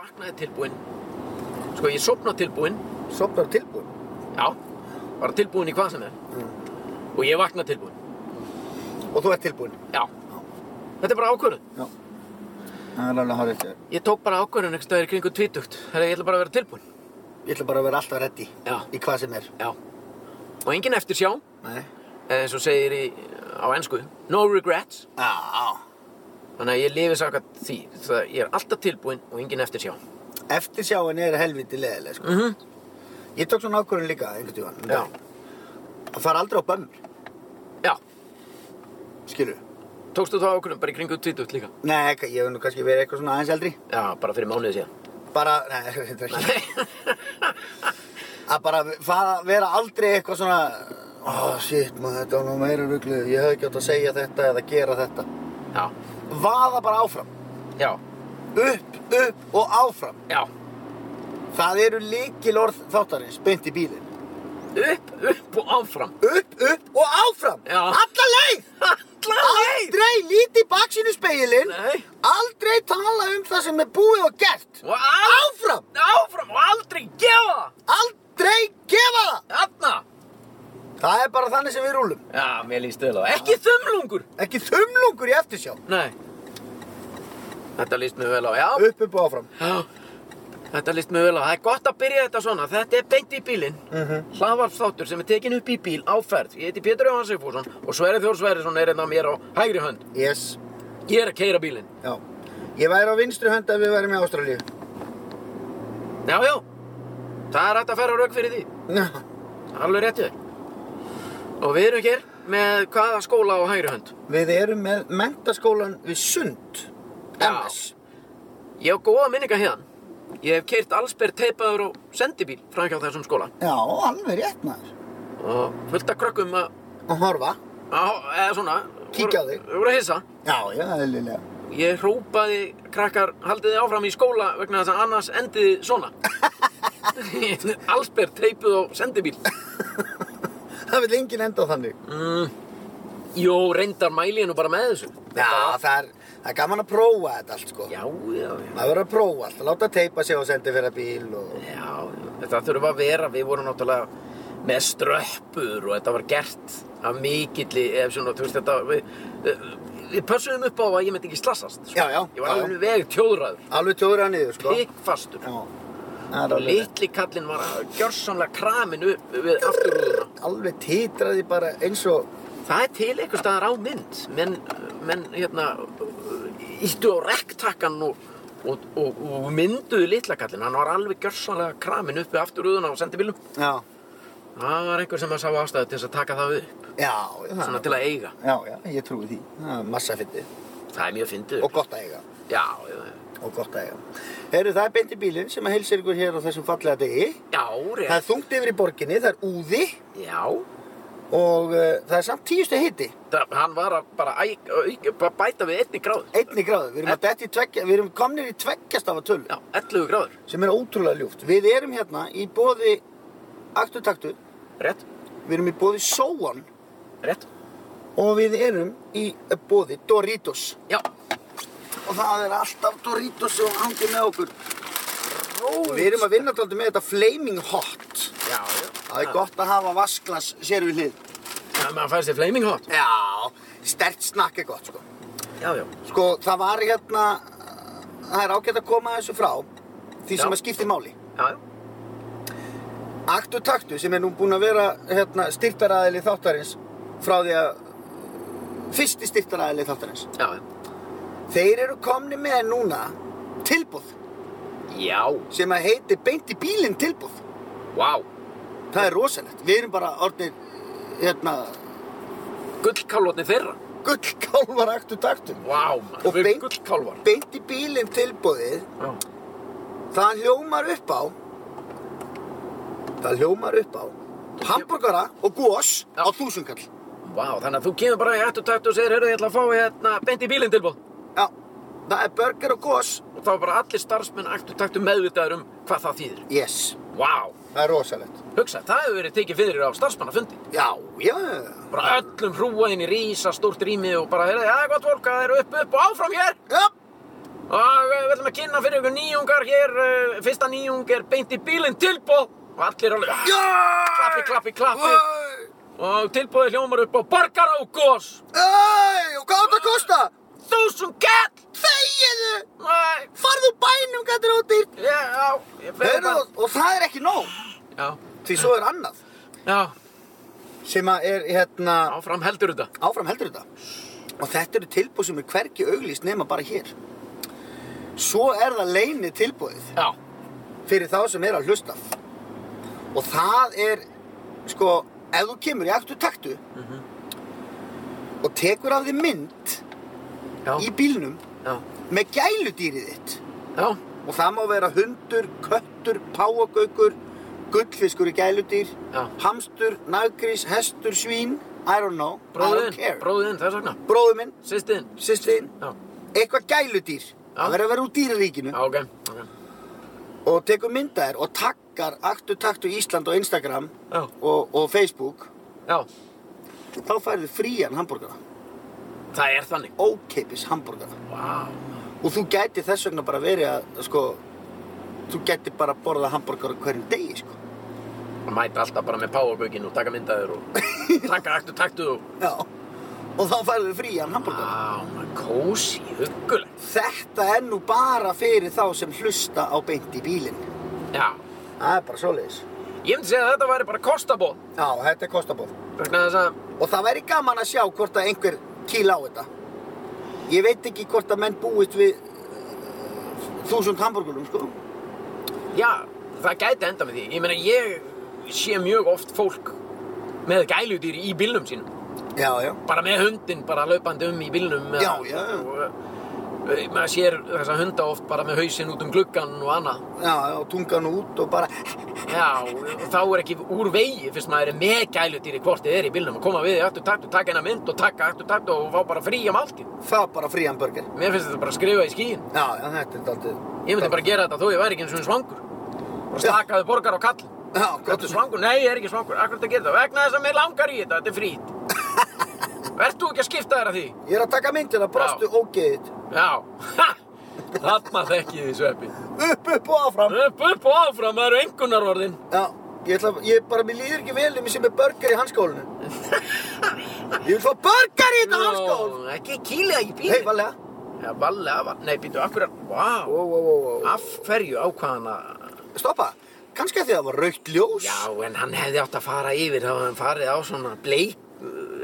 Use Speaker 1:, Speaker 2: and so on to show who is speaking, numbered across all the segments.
Speaker 1: sopnaði tilbúinn sko ég sopnaði tilbúinn
Speaker 2: Sopnar tilbúin.
Speaker 1: já, var tilbúinn í hvað sem er og ég vaknaði tilbúinn
Speaker 2: Og þú ert tilbúin.
Speaker 1: já, þetta er bara ákvörðun
Speaker 2: Já. Það er alveg hárið þér.
Speaker 1: ég tók bara ákvörðun einhvers staðar í kringum tvítugt þegar ég ætla bara að vera tilbúinn
Speaker 2: Ég ætla bara að vera alltaf reddi.
Speaker 1: Já.
Speaker 2: Í hvað sem er.
Speaker 1: já, og engin eftir sjá
Speaker 2: Nei.
Speaker 1: eins og segir í, á ennsku no regrets
Speaker 2: Já, já.
Speaker 1: þannig að ég lifi sakat því það ég er alltaf tilbúinn og engin eftir sjá
Speaker 2: Eftir sjáin er helviti leðileg, sko.
Speaker 1: mhm,
Speaker 2: Ég tók svona ákvörðun líka, einhvern tíðan.
Speaker 1: já,
Speaker 2: Að fara aldrei á bömmur,
Speaker 1: já
Speaker 2: skilur.
Speaker 1: tókstu þá ákvörðun bara í kringum tvítugt líka
Speaker 2: Nei, ég hef nú kannski verið eitthvað svona aðeins eldri.
Speaker 1: já, bara fyrir mánuði síðan
Speaker 2: Bara, nei, þetta er ekki.
Speaker 1: Nei.
Speaker 2: Að bara fara, vera aldrei eitthvað svona, ó, oh, shit, maður, þetta var nú meira ruglið. Ég hef ekki átt að segja þetta eða gera þetta.
Speaker 1: já,
Speaker 2: Vaða bara áfram.
Speaker 1: já,
Speaker 2: Upp, upp og áfram.
Speaker 1: já
Speaker 2: Það eru líkilorð þáttarins, beint í bílinn.
Speaker 1: upp, upp og áfram
Speaker 2: Upp, upp og áfram.
Speaker 1: Já.
Speaker 2: Alla leið.
Speaker 1: allar
Speaker 2: Aldrei lítið baksinu speilin.
Speaker 1: Nei.
Speaker 2: Aldrei tala um það sem er búið og gert.
Speaker 1: og áfram,
Speaker 2: Áfram.
Speaker 1: áfram og aldrei gefa það
Speaker 2: Aldrei gefa það.
Speaker 1: þarna
Speaker 2: Það er bara þannig sem við rúlum.
Speaker 1: já, mér líst vel á það. ekki þumlungur
Speaker 2: Ekki þumlungur í eftirsjá.
Speaker 1: nei þetta líst mér vel á, já,
Speaker 2: Upp, upp og áfram.
Speaker 1: já. Þetta líst mér vel á, það er gott að byrja þetta svona, þetta er beint í bílinn, hlaðvarpsþáttur sem er tekin upp í bíl á ferð, ég heiti Pétur Jóhann Sigfússon og Sverri Þór Sverrisson er einn af mér á hægri hönd,
Speaker 2: Yes.
Speaker 1: ég er að keira bílinn,
Speaker 2: Já. Ég væri á vinstri hönd ef við værim í Ástralíu.
Speaker 1: já, já, það er hægt að færa rauk fyrir því.
Speaker 2: Ná.
Speaker 1: Alveg réttu þér. Og við erum hér með hvaða skóla á hægri hönd?
Speaker 2: Við erum með mentaskólan við Sund.
Speaker 1: Já.
Speaker 2: MS.
Speaker 1: Ég hef góða minninga hérna. Ég hef keirt allsberg teipaður og sendibíl framhjá þessum skóla.
Speaker 2: Já, alveg rétt maður.
Speaker 1: Og fullt af krökkum að,
Speaker 2: Og horfa.
Speaker 1: að eða svona,
Speaker 2: Kíkja á þig.
Speaker 1: voru voru að hissa.
Speaker 2: Já, já, eðlilega.
Speaker 1: Ég hrópaði krakkar, haldið þið áfram í skóla vegna þess að annars endiði svona. allsberg teipuð og sendibíl.
Speaker 2: Það vil enginn enda á þannig.
Speaker 1: Mm. Jó, reyndar mæli ég nú bara með þessu.
Speaker 2: Já, það er, það er gaman að prófa þetta allt, sko.
Speaker 1: Já, já, já.
Speaker 2: Það verður að prófa allt, láta teipa sig og sendi fyrir bíl og...
Speaker 1: Já, þetta þurfa að vera, við vorum náttúrulega með ströppur og þetta var gert af mikilli, ef svona, þú veist þetta, við, eh, við pössuðum upp á að ég myndi ekki slassast. sko.
Speaker 2: Já, já,
Speaker 1: Ég var
Speaker 2: já,
Speaker 1: alveg veg tjóðræður,
Speaker 2: Alveg tjóður að niður, sko.
Speaker 1: pikkfastur.
Speaker 2: Já. Það er alveg,
Speaker 1: Litli kallinn var að- gjörsamlega kramin upp við afturrúðuna.
Speaker 2: alveg titraði bara eins og...
Speaker 1: Það er til einhver staðar á mynd, menn, menn hérna, íttu á rekktakkan og, og, og, og mynduðu litla kallinn. Hann var alveg gjörsamlega kramin upp við afturrúðuna og sendi bílum.
Speaker 2: Já.
Speaker 1: Það var einhver sem að sá ástæðu til þess að taka það upp,
Speaker 2: Já, það-
Speaker 1: svona til að eiga.
Speaker 2: Já, já, ég trúi því. Það er massa fyndið.
Speaker 1: Það er mjög fyndið.
Speaker 2: Og gott að eiga.
Speaker 1: Já, já, já.
Speaker 2: Og gott að eiga. Heyrðu, það er beint í bílinn sem að heilsir ykkur hér á þessum fallega degi.
Speaker 1: já,
Speaker 2: Það
Speaker 1: rétt.
Speaker 2: er þungt yfir í borginni, það er úði
Speaker 1: Já,
Speaker 2: og uh, það er samt tíustu hiti.
Speaker 1: það, hann var að bara æg, æg, bara bæta við einni gráð.
Speaker 2: Einni gráðu. Við erum, að detta í tveggja, við erum komnir í tveggjastafa tölu.
Speaker 1: Já, 11 gráður.
Speaker 2: sem er ótrúlega ljúft. Við erum hérna í bóði Aktu Taktu,
Speaker 1: Rétt,
Speaker 2: við erum í bóði Sóan
Speaker 1: rétt.
Speaker 2: og við erum í bóði Doritos.
Speaker 1: Já,
Speaker 2: Og það er alltaf Doritos sem hangir með okkur. Og við erum að vinna alltaf með þetta Flaming Hot.
Speaker 1: já, já.
Speaker 2: Það er gott að hafa vasklas sér við hlið.
Speaker 1: Það maður fæði sér flaming hot.
Speaker 2: Já, stert snakk er gott sko.
Speaker 1: Já, já,
Speaker 2: Sko, það var hérna, það er ágætt að koma þessu frá, því
Speaker 1: Já.
Speaker 2: sem að skipti máli.
Speaker 1: já, já.
Speaker 2: Aktu taktu sem er nú búinn að vera hérna, styrtaræðili þáttarins frá því að fyrsti styrtaræðili þáttarins
Speaker 1: Já, já.
Speaker 2: þeir eru komni með núna tilbúð
Speaker 1: Já,
Speaker 2: sem að heiti beint í bílinn tilbúð
Speaker 1: vá.
Speaker 2: það er rosalegt, við erum bara orðnir hérna,
Speaker 1: Gullkálvarnir þeirra.
Speaker 2: gullkálvar aktu taktu
Speaker 1: Vá, maður.
Speaker 2: Og
Speaker 1: Við
Speaker 2: beint-
Speaker 1: gullkálvar.
Speaker 2: beint í bílinn tilbúðið
Speaker 1: Já.
Speaker 2: það hljómar upp á það hljómar upp á hamburgara og gós
Speaker 1: Já.
Speaker 2: á þúsungall
Speaker 1: Vá, þannig að þú kemur bara í ættutætt og segir, heyrðu, ég ætla að fá hérna beint í bílinn tilbúð.
Speaker 2: já, það er burger og gós
Speaker 1: Og þá er bara allir starfsmenn ættutættu meðvitaður um hvað það þýðir.
Speaker 2: yes,
Speaker 1: Vá,
Speaker 2: það er rosalegt
Speaker 1: hugsa, það hefur verið tekið fyrir á starfsmannafundi.
Speaker 2: Já, já, já.
Speaker 1: Bara öllum hrúaðin í rísa stórt rými og bara, heyrðu, já, gott fólk, það eru upp, upp og áfram hér.
Speaker 2: já.
Speaker 1: Og eh, við ætlum að kynna fyrir ykkur nýjungar hér, eh, fyrsta nýjung er beint í bílinn tilbóð og allir alveg "Ah!"
Speaker 2: Klappi,
Speaker 1: klappi, klappi. og tilbóði hljómar upp á borgara og gos.
Speaker 2: Æ, og hvað átt að kosta?
Speaker 1: Þúsund kall!
Speaker 2: Þegiðu!
Speaker 1: Nei,
Speaker 2: Farðu úr bænum, gætir ódýr!
Speaker 1: ég, já, ég fer
Speaker 2: Heru, og, og það er ekki nóg,
Speaker 1: Já,
Speaker 2: því svo er annað
Speaker 1: já,
Speaker 2: sem að er hérna
Speaker 1: áfram heldur þetta.
Speaker 2: áfram heldur þetta og þetta eru tilbúð sem er hvergi auglýst nema bara hér svo er það leini tilbúðið
Speaker 1: Já,
Speaker 2: fyrir þá sem er að hlusta og það er sko, ef þú kemur í aktu taktu
Speaker 1: Mhm.
Speaker 2: og tekur af því mynd
Speaker 1: já,
Speaker 2: í bílnum
Speaker 1: já,
Speaker 2: með gæludýrið þitt
Speaker 1: já,
Speaker 2: og það má vera hundur, köttur, páagaukur gullfiskur í gæludýr
Speaker 1: Já.
Speaker 2: hamstur, naggrís, hestur, svín I don't know, I don't care
Speaker 1: bróðin, bróðin, þess vegna,
Speaker 2: bróðu minn,
Speaker 1: sýstin,
Speaker 2: sýstin,
Speaker 1: já,
Speaker 2: eitthvað gæludýr það verður að vera úr dýraríkinu
Speaker 1: já, ok, ok,
Speaker 2: og tekur myndaðir og takkar Aktu Taktu Ísland og Instagram
Speaker 1: já,
Speaker 2: og, og Facebook
Speaker 1: já,
Speaker 2: þá færðu frían hambúrgara
Speaker 1: það er þannig.
Speaker 2: ókeipis hambúrgara
Speaker 1: Vá,
Speaker 2: og þú gæti þess vegna bara verið að sko, þú gæti bara borða hambúrgara hverjum degi sko.
Speaker 1: og mæta alltaf bara með páagaukin og taka myndaður og taka aktu taktu og...
Speaker 2: Já. og þá færðu frían hambúrgara
Speaker 1: Vá, maður kósi, huggulegt.
Speaker 2: þetta er nú bara fyrir þá sem hlusta á beint í bílinn
Speaker 1: Já,
Speaker 2: það er bara svoleiðis
Speaker 1: ég myndi segja að þetta væri bara kostabóð,
Speaker 2: já, þetta er kostabóð
Speaker 1: vegna þess að,
Speaker 2: Og það væri gaman að sjá hvort að einhver kýla á þetta. Ég veit ekki hvort að menn búist við uh, þúsund hambúrgurum, sko.
Speaker 1: já, það gæti enda með því. Ég meina, ég sé mjög oft fólk með gæludýr í bílnum sínum.
Speaker 2: Já, já.
Speaker 1: bara með hundin bara laupandi um í bílnum
Speaker 2: Já, já.
Speaker 1: og, eh, maður sér þessa hunda oft bara með hausinn út um gluggan og annað
Speaker 2: Já, já, og tungan út og bara...
Speaker 1: já, og þá er ekki úr vegi fyrst maður er með gæludýri hvort þið er í bílnum og koma við aftur takt og taka eina mynd og taka aftur takt og fá bara frí á máltíð
Speaker 2: Það er bara frían burger.
Speaker 1: mér finnst þetta bara að skrifa í skíin
Speaker 2: Já, já, þetta er daldið...
Speaker 1: ég myndi bara gera þetta þó ég væri ekki eins og svangur bara
Speaker 2: Já.
Speaker 1: stakaði borgar á kall
Speaker 2: Já, gott.
Speaker 1: Ertu svangur? Nei, ég er ekki svangur. Akkur þetta gerir það? Vegna þess að mér langar í þetta. Þetta er frít. Vertu ekki að skipta þér að því?
Speaker 2: Ég er að taka myndina, brostu ógeðið.
Speaker 1: Já, þarna þekkið þið sveppi.
Speaker 2: Upp, upp og áfram.
Speaker 1: Upp, upp og áfram, það eru engunarorðin.
Speaker 2: Já, ég ætla að... Ég bara, mér líður ekki vel um sem er burger í hanskólinu. ég vil fá burger í þetta hanskól!
Speaker 1: Ekki kýlega í bílinn.
Speaker 2: Hei, valega.
Speaker 1: Já, valega, val... nei, býtu, af hverju, vá,
Speaker 2: Ó, ó, ó, ó.
Speaker 1: af hverju ákvaðan að...
Speaker 2: Stoppa. Kannski að því að það var raukt ljós.
Speaker 1: Já, en hann hefði átt að fara yfir, þá hefði hann farið á svona bleik,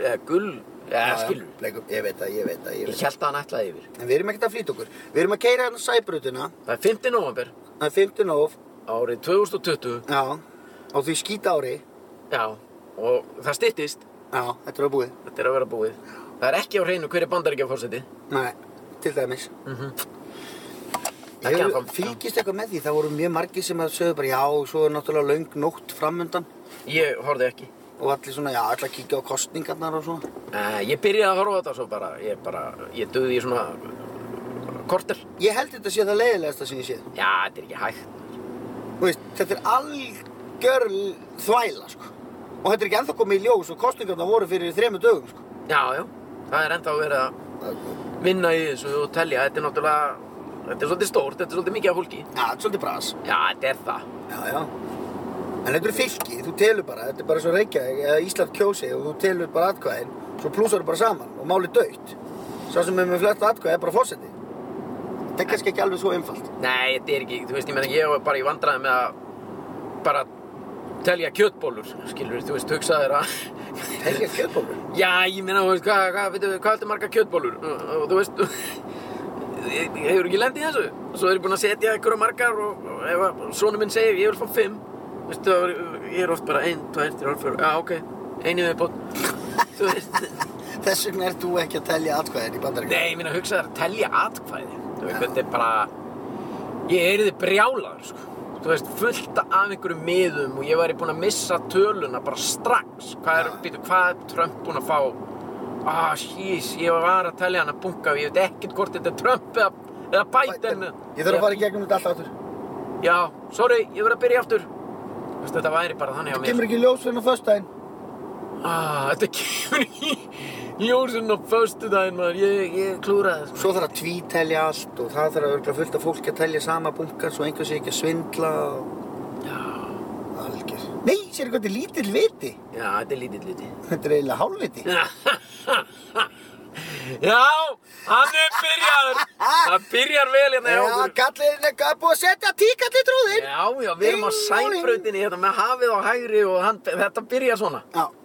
Speaker 1: eða gull, eða skilur.
Speaker 2: Leikum, ég veit það, ég veit það, ég veit
Speaker 1: Ég held að hann ætlaði yfir.
Speaker 2: það. En við erum ekkert að flýta okkur. Við erum að keira hérna sæbrutina,
Speaker 1: Það er 5. november,
Speaker 2: það er 15 of,
Speaker 1: árið 2020,
Speaker 2: já, á því skýta ári,
Speaker 1: já, og það styttist,
Speaker 2: já, þetta er að búið.
Speaker 1: þetta er að vera búið. Það er ekki á hreinu hverju bandaríkja fórsetið.
Speaker 2: Nei, til dæmis. Mm
Speaker 1: Mhm. Ekki ennþá.
Speaker 2: fylgist eitthvað með því, það voru mjög margir sem að sögðu bara já, svo er náttúrulega löng nótt framundan
Speaker 1: Ég horfði ekki.
Speaker 2: og allir svona, já, allir að kíkja á kostningarnar og svona.
Speaker 1: Uh, ég byrjaði að horfa á þetta svo bara, ég bara, ég döði í svona uh, korter.
Speaker 2: Ég held þetta sé það leiðilegasta sem ég séð.
Speaker 1: Já, þetta er ekki hægt.
Speaker 2: Þú veist, þetta er algjör þvæla, sko. Og þetta er ekki ennþá komið í ljós og kostningarnar voru fyrir þremur dögum, sko.
Speaker 1: Já, já, það er ennþá verið að vinna í þessu og telja. Þetta er náttúrulega, þetta er svolítið stórt, þetta er svolítið mikið af fólki.
Speaker 2: Já, þetta er svolítið bras.
Speaker 1: Já, þetta er það.
Speaker 2: Já, já. En þetta eru fylki, þú telur bara, þetta er bara svo Reykjavík eða Ísland kjósi og þú telur bara atkvæðin, svo plúsar þú bara saman og málið döitt. Sá sem er með flesta atkvæði er bara fósetti. Þetta er kannski ekki alveg svo einfalt.
Speaker 1: Nei, þetta er ekki, þú veist, ég meina, ég var bara í vandræði með að bara telja kjötbólur, skilur, þú veist, hugsa þér að...
Speaker 2: Helgja kjötbólur.
Speaker 1: Já, ég meina, þú veist, hvað, hvað, veitum við, hvað heldur marga kjötbólur? Og, og þú veist, hefur ekki lendið í þessu? Svo er ég búinn að setja einhverja margar og, og ef að sonu minn segir, ég vil fá fimm. Veistu, það var- ég er oft bara ein, tvær, þrjár, fjör, já, ok, einu við bótt. Þú veist,
Speaker 2: Þess vegna ert þú ekki að telja atkvæðin í bandaríkjum.
Speaker 1: nei, ég meina, hugsa þér að telja atkvæði. Þú veist, þetta er bara, ég er þið brjálaður, sko. Þú veist, fullt af einhverjum miðum og ég væri búinn að missa töluna bara strax. Hvað er,
Speaker 2: Já.
Speaker 1: býtu, hvað er Trump búinn að fá? Ah, jeez, ég var að telja hann að bunga og ég veit ekkert hvort þetta er Trump eða, eða Biden.
Speaker 2: Ég þarf að fara í gegnum þetta alltaf áttur.
Speaker 1: Já, sorry, ég verð að byrja aftur. Þú veist, þetta væri bara þannig á
Speaker 2: Þú
Speaker 1: mér.
Speaker 2: kemur ekki í ljós fyrir á föstudaginn.
Speaker 1: Ah, þetta kemur í jórsunum á föstudaginn maður, ég, ég klúraði sko.
Speaker 2: Svo þarf að tvítelja allt og það þarf að örgla fullt af fólki að telja sama bunkan svo einhver sé ekki að svindla og
Speaker 1: Já,
Speaker 2: algjör. Nei, sér hvað þetta er lítill viti.
Speaker 1: já, þetta er lítill liti.
Speaker 2: Þetta er eiginlega hálfviti.
Speaker 1: Já, hann er byrjaður. Það byrjar vel hérna hjá
Speaker 2: Já,
Speaker 1: okkur.
Speaker 2: gallin er að búið að setja tíkalli trúðinn.
Speaker 1: Já, já, við erum á
Speaker 2: Ding,
Speaker 1: sæbrautinni hérna með hafið á hægri og hann, þetta byrjar svona.
Speaker 2: Já, það er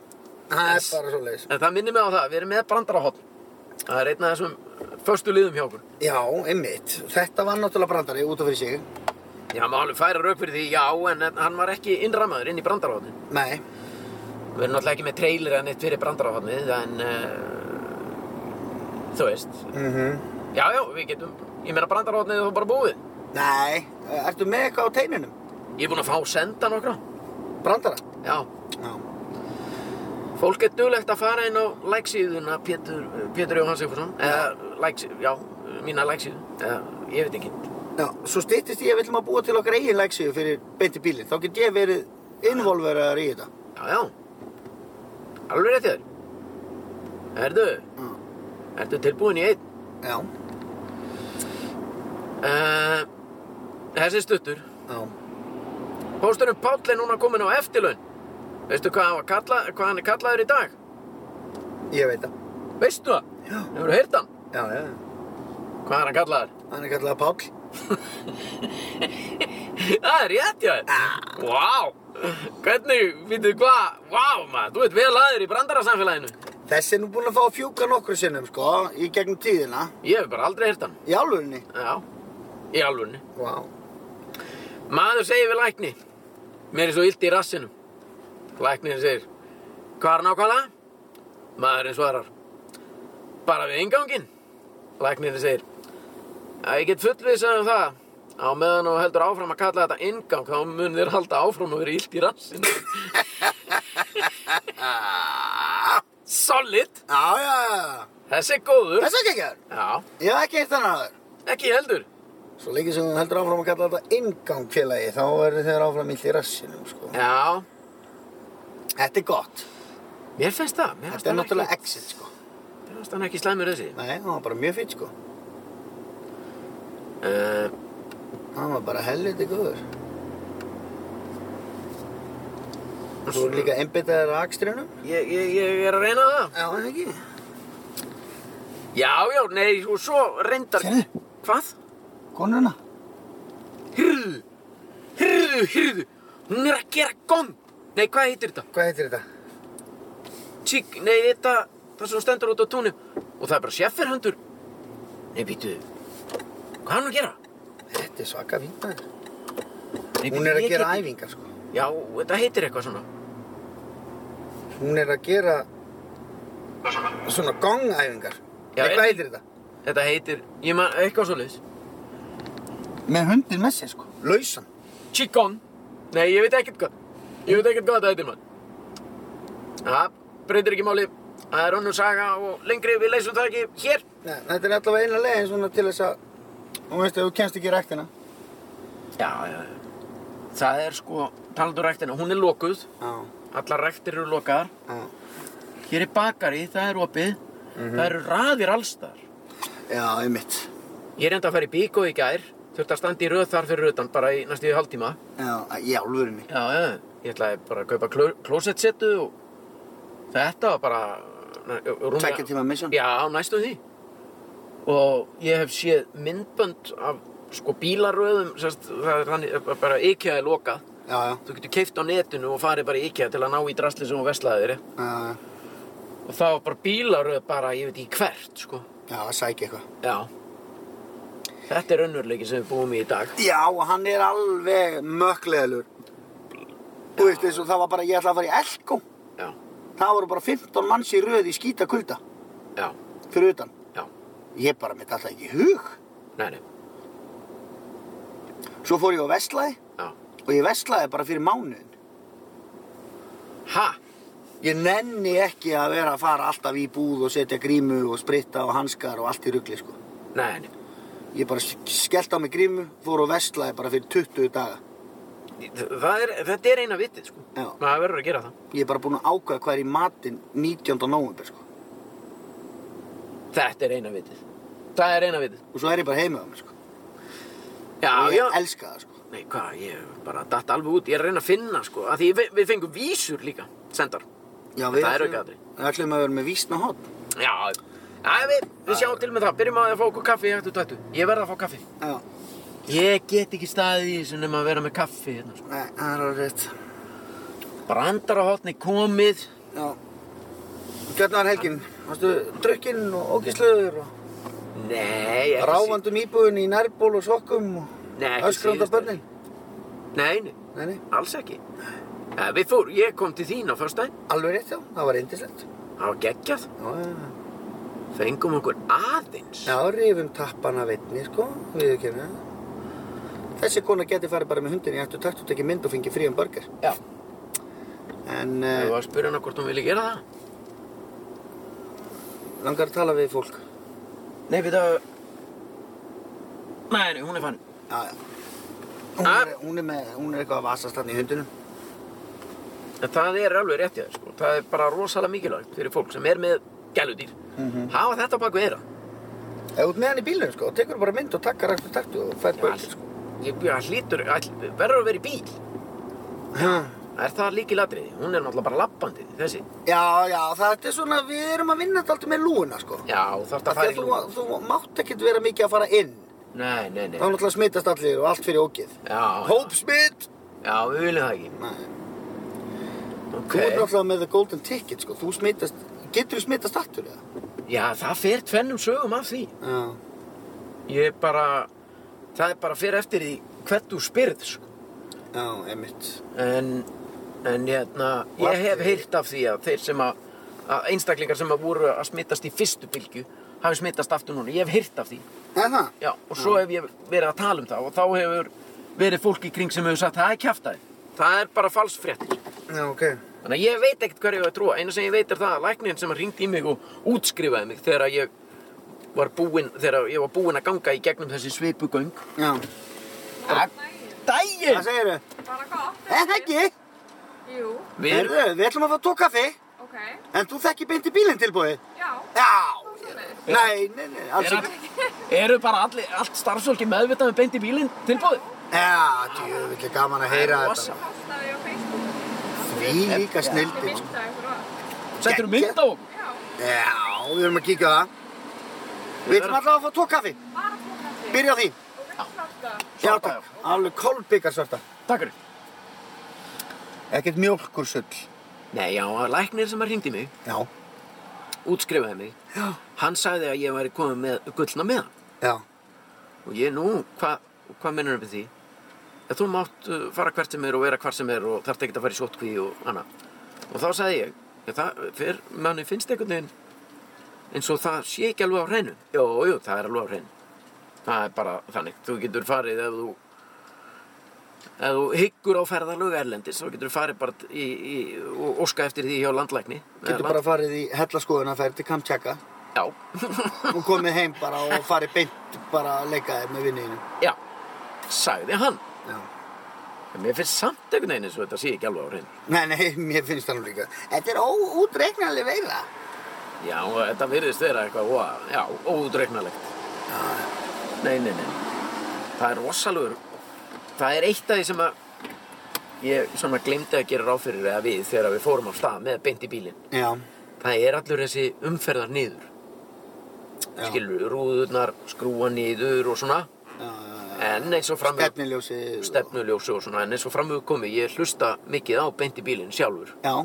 Speaker 1: Yes.
Speaker 2: bara svo leiðis.
Speaker 1: En það minnir mig á það, við erum með brandarahotn. Það er einn af þessum föstu liðum hjá okkur.
Speaker 2: Já, einmitt. Þetta var náttúrulega brandari út af fyrir sig.
Speaker 1: Já, maður alveg færa rauk fyrir því, já, en hann var ekki innrammaður inn í brandarahotnin.
Speaker 2: Nei,
Speaker 1: Við erum náttúrulega ekki með trailer en eitt fyrir brandarafannið, en uh, þú veist,
Speaker 2: Mhm.
Speaker 1: já, já, við getum, ég meina brandarafannið er bara búið.
Speaker 2: nei. Ertu með eitthvað á teininum?
Speaker 1: Ég er búinn að fá senda nokkra,
Speaker 2: Brandara?
Speaker 1: já.
Speaker 2: Já.
Speaker 1: Fólk er duglegt að fara inn á likesíðuna Pétur, Pétur Jóhann Sigfússon, eða likesíðu, já, mína likesíðu, eða ég veit ekki.
Speaker 2: Já, svo styttist ég að við ætlum að búa til okkar eigin leksíu fyrir beinti bílinn. Þá get ég verið involveraður í þetta.
Speaker 1: Já, já, alveg rétt hjá þér. Erðu,
Speaker 2: Mm.
Speaker 1: ertu tilbúin í einn?
Speaker 2: Já,
Speaker 1: Uh, þessi stuttur.
Speaker 2: já.
Speaker 1: Pósturinn Páll er núna kominn á eftirlaun. Veistu hvað hann, var kalla, hvað hann er kallaður í dag?
Speaker 2: Ég veit það.
Speaker 1: Veistu það?
Speaker 2: Já.
Speaker 1: Hefur þú heyrt hann?
Speaker 2: Já, já.
Speaker 1: Hvað er hann kallaður?
Speaker 2: Hann er kallað Páll.
Speaker 1: það er rétt, já.
Speaker 2: Ah,
Speaker 1: Vá! Hvernig, veitu hvað? Vá, maður, þú ert vel aður í brandarasamfélaginu.
Speaker 2: Þessi er nú búinn að fá að fjúka nokkru sinnum, sko, í gegnum tíðina.
Speaker 1: Ég hef bara aldrei heyrt hann.
Speaker 2: Í álunni.
Speaker 1: Já, í alvunni.
Speaker 2: Vá. Wow.
Speaker 1: Maður segir við lækni. Mér er svo illt í rassinum. Læknin segir, hvað er nákvæmlega? Maðurinn svarar, bara við inganginn. Læknin segir, að ég get fullvisað um það. Á meðan og heldur áfram að kalla þetta ingang, þá mun þér halda áfram að vera illt í rassinu. Solid!
Speaker 2: Já, já, já.
Speaker 1: Þessi er góður.
Speaker 2: Þess ekki ekki þar.
Speaker 1: Já,
Speaker 2: Ég hef ekki eitt hann aður.
Speaker 1: ekki heldur.
Speaker 2: Svo lengi sem hún heldur áfram að kalla þetta ingangfélagi, þá verður þeir áfram illt í rassinum, sko.
Speaker 1: Já,
Speaker 2: Þetta er gott.
Speaker 1: mér finnst það. Mér finnst
Speaker 2: Þetta er
Speaker 1: hann
Speaker 2: náttúrulega
Speaker 1: ekki,
Speaker 2: exit, sko.
Speaker 1: mér finnst hann ekki slæmur þessi.
Speaker 2: Nei, það var bara mjög fýtt, sko.
Speaker 1: Uh,
Speaker 2: Það var bara helviti góður. Þú er líka einbyttaður að akstrinum.
Speaker 1: Ég, ég, ég er að reyna það.
Speaker 2: Já, en ekki.
Speaker 1: Já, já, nei, og svo reyndar...
Speaker 2: Sérðu?
Speaker 1: Hvað?
Speaker 2: Konuna.
Speaker 1: Hyrðu, hyrðu, hyrðu, hún er að gera gong. Nei, hvað heitir þetta?
Speaker 2: Hvað heitir þetta?
Speaker 1: Tík, nei, þetta, það sem stendur út á túnum. Og það er bara sjefferhundur. Nei, býtu, hvað er hann að gera?
Speaker 2: Þetta er svaka fínt maður.
Speaker 1: Nei,
Speaker 2: Hún er að
Speaker 1: ég
Speaker 2: gera
Speaker 1: get-
Speaker 2: æfingar sko.
Speaker 1: Já, þetta heitir eitthvað svona.
Speaker 2: Hún er að gera svona gongæfingar.
Speaker 1: Já,
Speaker 2: Nei,
Speaker 1: er-
Speaker 2: hvað heitir þetta?
Speaker 1: Þetta heitir, ég man, eitthvað svo leiðis.
Speaker 2: Með hundin með sér sko. Lausan.
Speaker 1: Qigong. Nei, ég veit ekkert hvað. Ég veit ekkert hvað þetta heitir, mann. Það breytir ekki máli. Það er önnur saga og lengri, við leysum það ekki hér.
Speaker 2: Nei, þetta er allavega eina leiðin svona til þess að hún veist að þú kemst ekki í ræktina.
Speaker 1: Já, já, já. Það er sko, talandur ræktina, hún er lokuð.
Speaker 2: Já,
Speaker 1: Allar ræktir eru lokaðar.
Speaker 2: já.
Speaker 1: Hér er bakari, það er opið. Það eru raðir allstar.
Speaker 2: Já, einmitt.
Speaker 1: Ég er enda að fara í bíkó í gær. Þurfti að standa í röð þar fyrir utan, bara í næstu í hálftíma.
Speaker 2: Já, í alvörinni.
Speaker 1: Já, já, já. ég ætlaði bara að kaupa kló- klósettsetu og þetta var bara... na- rúmlega-
Speaker 2: Tveggja tíma mission.
Speaker 1: Já, næstum því. Og ég hef séð myndbönd af sko bílaröðum, sérst, það er hann, bara IKEA er lokað.
Speaker 2: Já, já.
Speaker 1: Þú getur keift á netinu og farið bara í IKEA til að ná í drasli sem hún veslaði þér.
Speaker 2: Já,
Speaker 1: Og það var bara bílaröð bara, ég veit ekki hvert, sko.
Speaker 2: já, að sækja eitthvað.
Speaker 1: Já. Þetta er önnurleiki sem við búum í í dag.
Speaker 2: Já, hann er alveg mökkleðalur. Þú veist eins og það var bara, ég ætla að fara í Elko.
Speaker 1: Já,
Speaker 2: Það voru bara 15 manns í röð í skítakulda
Speaker 1: já,
Speaker 2: fyrir utan.
Speaker 1: já.
Speaker 2: Ég bara mitt alltaf ekki í hug.
Speaker 1: Nei, nei,
Speaker 2: Svo fór ég á Vestlaði
Speaker 1: já.
Speaker 2: og ég Vestlaði bara fyrir mánuðin.
Speaker 1: Ha?
Speaker 2: Ég nenni ekki að vera að fara alltaf í búð og setja grímu og spritta og hanskar og allt í rugli sko.
Speaker 1: Nei, nei.
Speaker 2: Ég bara sk- skellti á mig grímu, fór á Vestlaði bara fyrir 20 daga.
Speaker 1: það er, þetta er eina vitið sko.
Speaker 2: Já.
Speaker 1: maður verður að gera það
Speaker 2: Ég er bara búinn að ákvæða hvað er í matinn 19. november sko.
Speaker 1: þetta er eina vitið það er eina vitið
Speaker 2: Og svo er ég bara heimið á mér sko.
Speaker 1: já,
Speaker 2: Og
Speaker 1: já,
Speaker 2: ég elska það sko.
Speaker 1: nei hvað, ég bara datt alveg út ég er að reyna að finna sko, að því við, við fengum vísur líka sendar,
Speaker 2: Já,
Speaker 1: Það er
Speaker 2: ætlum-
Speaker 1: aukaatriði.
Speaker 2: Við ætlum að vera með vísn og hotn.
Speaker 1: já að við, við sjáum til með það, byrjum á því að fá okkur kaffi í hættu tættu, ég verð að fá kaffi
Speaker 2: Já,
Speaker 1: ég get ekki staðið í þessu nema að vera með kaffi hérna, sko.
Speaker 2: nei, það er alveg rétt.
Speaker 1: brandar á hotni komið
Speaker 2: Já. Hvernig var helgin? Varstu drukkinn og ógisluður og
Speaker 1: nei, ekki
Speaker 2: ráfandum íbúðin í nærból og sokkum
Speaker 1: sí-
Speaker 2: og
Speaker 1: nei, ekki
Speaker 2: öskranda
Speaker 1: síðustu-
Speaker 2: börnin?
Speaker 1: nei, nei,
Speaker 2: Nei, nei,
Speaker 1: alls ekki ja, við fór, ég kom til þín á föstudaginn
Speaker 2: alveg rétt já, það var reyndislegt.
Speaker 1: það var geggjað,
Speaker 2: Já, já, já.
Speaker 1: fengum okkur aðeins
Speaker 2: Já, rifum tappana vitni, sko, við ekki með það. Þessi kona geti farið bara með hundin í aftur takt og tekið mynd og fengið fríum börgar.
Speaker 1: Já.
Speaker 2: En
Speaker 1: Ég
Speaker 2: uh,
Speaker 1: var að spyrja hana hvort hún vilja gera það.
Speaker 2: langar að tala við fólk.
Speaker 1: Nei, við það... Nei, nei, hún er fann.
Speaker 2: Já, já. Hún
Speaker 1: Ah.
Speaker 2: er, hún er, með, hún er eitthvað að vasast hann í hundinu.
Speaker 1: Það er alveg rétt í það, sko. Það er bara rosalega mikilvægt fyrir fólk sem er með gæludýr. Hafa þetta á bak við eira.
Speaker 2: Ef þú ert með hann í bílunum, sko, tekur bara mynd og takkar aftur takt og fær börgar, sko.
Speaker 1: Ég ég hlýtur, all- verður að vera í bíl.
Speaker 2: Ha.
Speaker 1: Það er það líkilatriði. Hún er náttúrulega bara lappandi, þessi.
Speaker 2: Já, já, það er svona, við erum að vinna þetta alltaf með lúuna, sko.
Speaker 1: Já, þarf það
Speaker 2: Það
Speaker 1: að fara í
Speaker 2: þú,
Speaker 1: lúna.
Speaker 2: þú mátt ekkert vera mikið að fara inn.
Speaker 1: Nei, nei, nei.
Speaker 2: Þá náttúrulega smitast allir og allt fyrir ógið.
Speaker 1: Já,
Speaker 2: Hópsmitt!
Speaker 1: já, við viljum það ekki.
Speaker 2: Nei.
Speaker 1: Ok.
Speaker 2: Þú ert náttúrulega með the golden ticket sko, þú smitast, getur þú smitast aftur eða?
Speaker 1: Já, það fer tvennum sögum af því.
Speaker 2: Já.
Speaker 1: Ég bara... Það er bara fyrir eftir því hvert þú spyrð, sko.
Speaker 2: Já, emitt.
Speaker 1: en, en hérna,
Speaker 2: Og
Speaker 1: ég
Speaker 2: af
Speaker 1: hef
Speaker 2: því-
Speaker 1: heyrt af því að þeir sem að, að einstaklingar sem að voru að smittast í fyrstu bylgju hafi smittast aftur núna, ég hef heyrt af því
Speaker 2: Er það?
Speaker 1: já, og svo hef ég verið að tala um það og þá hefur verið fólk í kring sem hefur sagt það er kjaftaði, það er bara falsfréttir
Speaker 2: Já, ok.
Speaker 1: þannig að ég veit ekkert hverju ég á að trúa eina sem ég veit er það að læknin sem ringdi í mig og útskrifaði mig þegar að ég var búinn, þegar ég var búinn að ganga í gegnum þessi svipugöng
Speaker 2: Já. Hvað
Speaker 1: Dæin!
Speaker 2: segirðu?
Speaker 3: Bara gott.
Speaker 2: Er það ekki?
Speaker 3: Jú,
Speaker 1: Við,
Speaker 2: Heyrðu, við ætlum að fá tók kaffi,
Speaker 3: ok.
Speaker 2: en þú þekki beint í bílinn tilbúið.
Speaker 3: Já,
Speaker 2: Já.
Speaker 3: svoleiðis.
Speaker 2: Nei, nei, nei, alls
Speaker 1: er
Speaker 2: ekki.
Speaker 1: all, eru bara allir, allt starfsfólki meðvitað með beint í bílinn tilbúið?
Speaker 2: Já, djöfull er gaman að heyra
Speaker 1: Það er
Speaker 2: þetta.
Speaker 3: postaði á Facebook.
Speaker 2: Því líka
Speaker 3: Ég
Speaker 2: snildin.
Speaker 3: mynda ykkur á það.
Speaker 1: Settur þú mynd á okkur?
Speaker 3: Já,
Speaker 2: sko. Já, við erum að kíkja á það. Við ætlum alltaf að fá tók kaffi.
Speaker 3: bara tókandi.
Speaker 2: Byrja á því.
Speaker 3: Og vilja svarta.
Speaker 2: Já,
Speaker 1: Svarta,
Speaker 2: takk. Alveg kolbyggar svarta.
Speaker 1: Takk fyrir.
Speaker 2: Ekkert mjólkursull.
Speaker 1: Nei, já, að læknir sem að hringdi í mig,
Speaker 2: Já.
Speaker 1: útskrifaði mig,
Speaker 2: Já.
Speaker 1: hann sagði að ég væri komið með gullna meðan.
Speaker 2: Já.
Speaker 1: Og ég, nú, hvað hva minnur við því? Að þú mátt uh, fara hvert sem er og vera hvar sem er og þarft ekkert að fara í sótkví og annað. Og þá sagði ég, já, það, fyrr, manni finnst einhvern veginn eins og það sé ekki alveg á hreinu. Jó, jú, það er alveg á hreinu. Það er bara þannig, þú getur farið ef þú ef þú hyggur á ferðalög erlendis þá getur þú farið bara í, í, og óska eftir því hjá landlækni eða
Speaker 2: Getur bara farið í hellaskoðuna færið til Kamchaka
Speaker 1: Já,
Speaker 2: og komið heim bara og farið beint bara að leika þér með vinniðinu.
Speaker 1: já, sagði hann.
Speaker 2: Já.
Speaker 1: En mér finnst samt einhvern veginn eins og þetta sé ekki alveg á hreinu.
Speaker 2: Nei, nei, mér finnst það nú líka. Þetta er óútreiknanlega veira.
Speaker 1: Já, og þetta virðist vera eitthvað, ó, já, óútreiknalegt. Nei, nei, nei. Það er rosalegur. Það er eitt af því sem að ég svona glemdi að gera ráð fyrir eða við þegar við fórum á stað með beint í bílinn.
Speaker 2: Já.
Speaker 1: Það er allur þessi umferðar niður.
Speaker 2: Já.
Speaker 1: Skilur, rúðurnar skrúa niður og svona.
Speaker 2: Eh,
Speaker 1: En eins og framöf...
Speaker 2: Stefniljósi.
Speaker 1: Stefnuljósi og svona. En eins og framöf komið, ég hlusta mikið á beint í bílinn sjálfur.
Speaker 2: Já.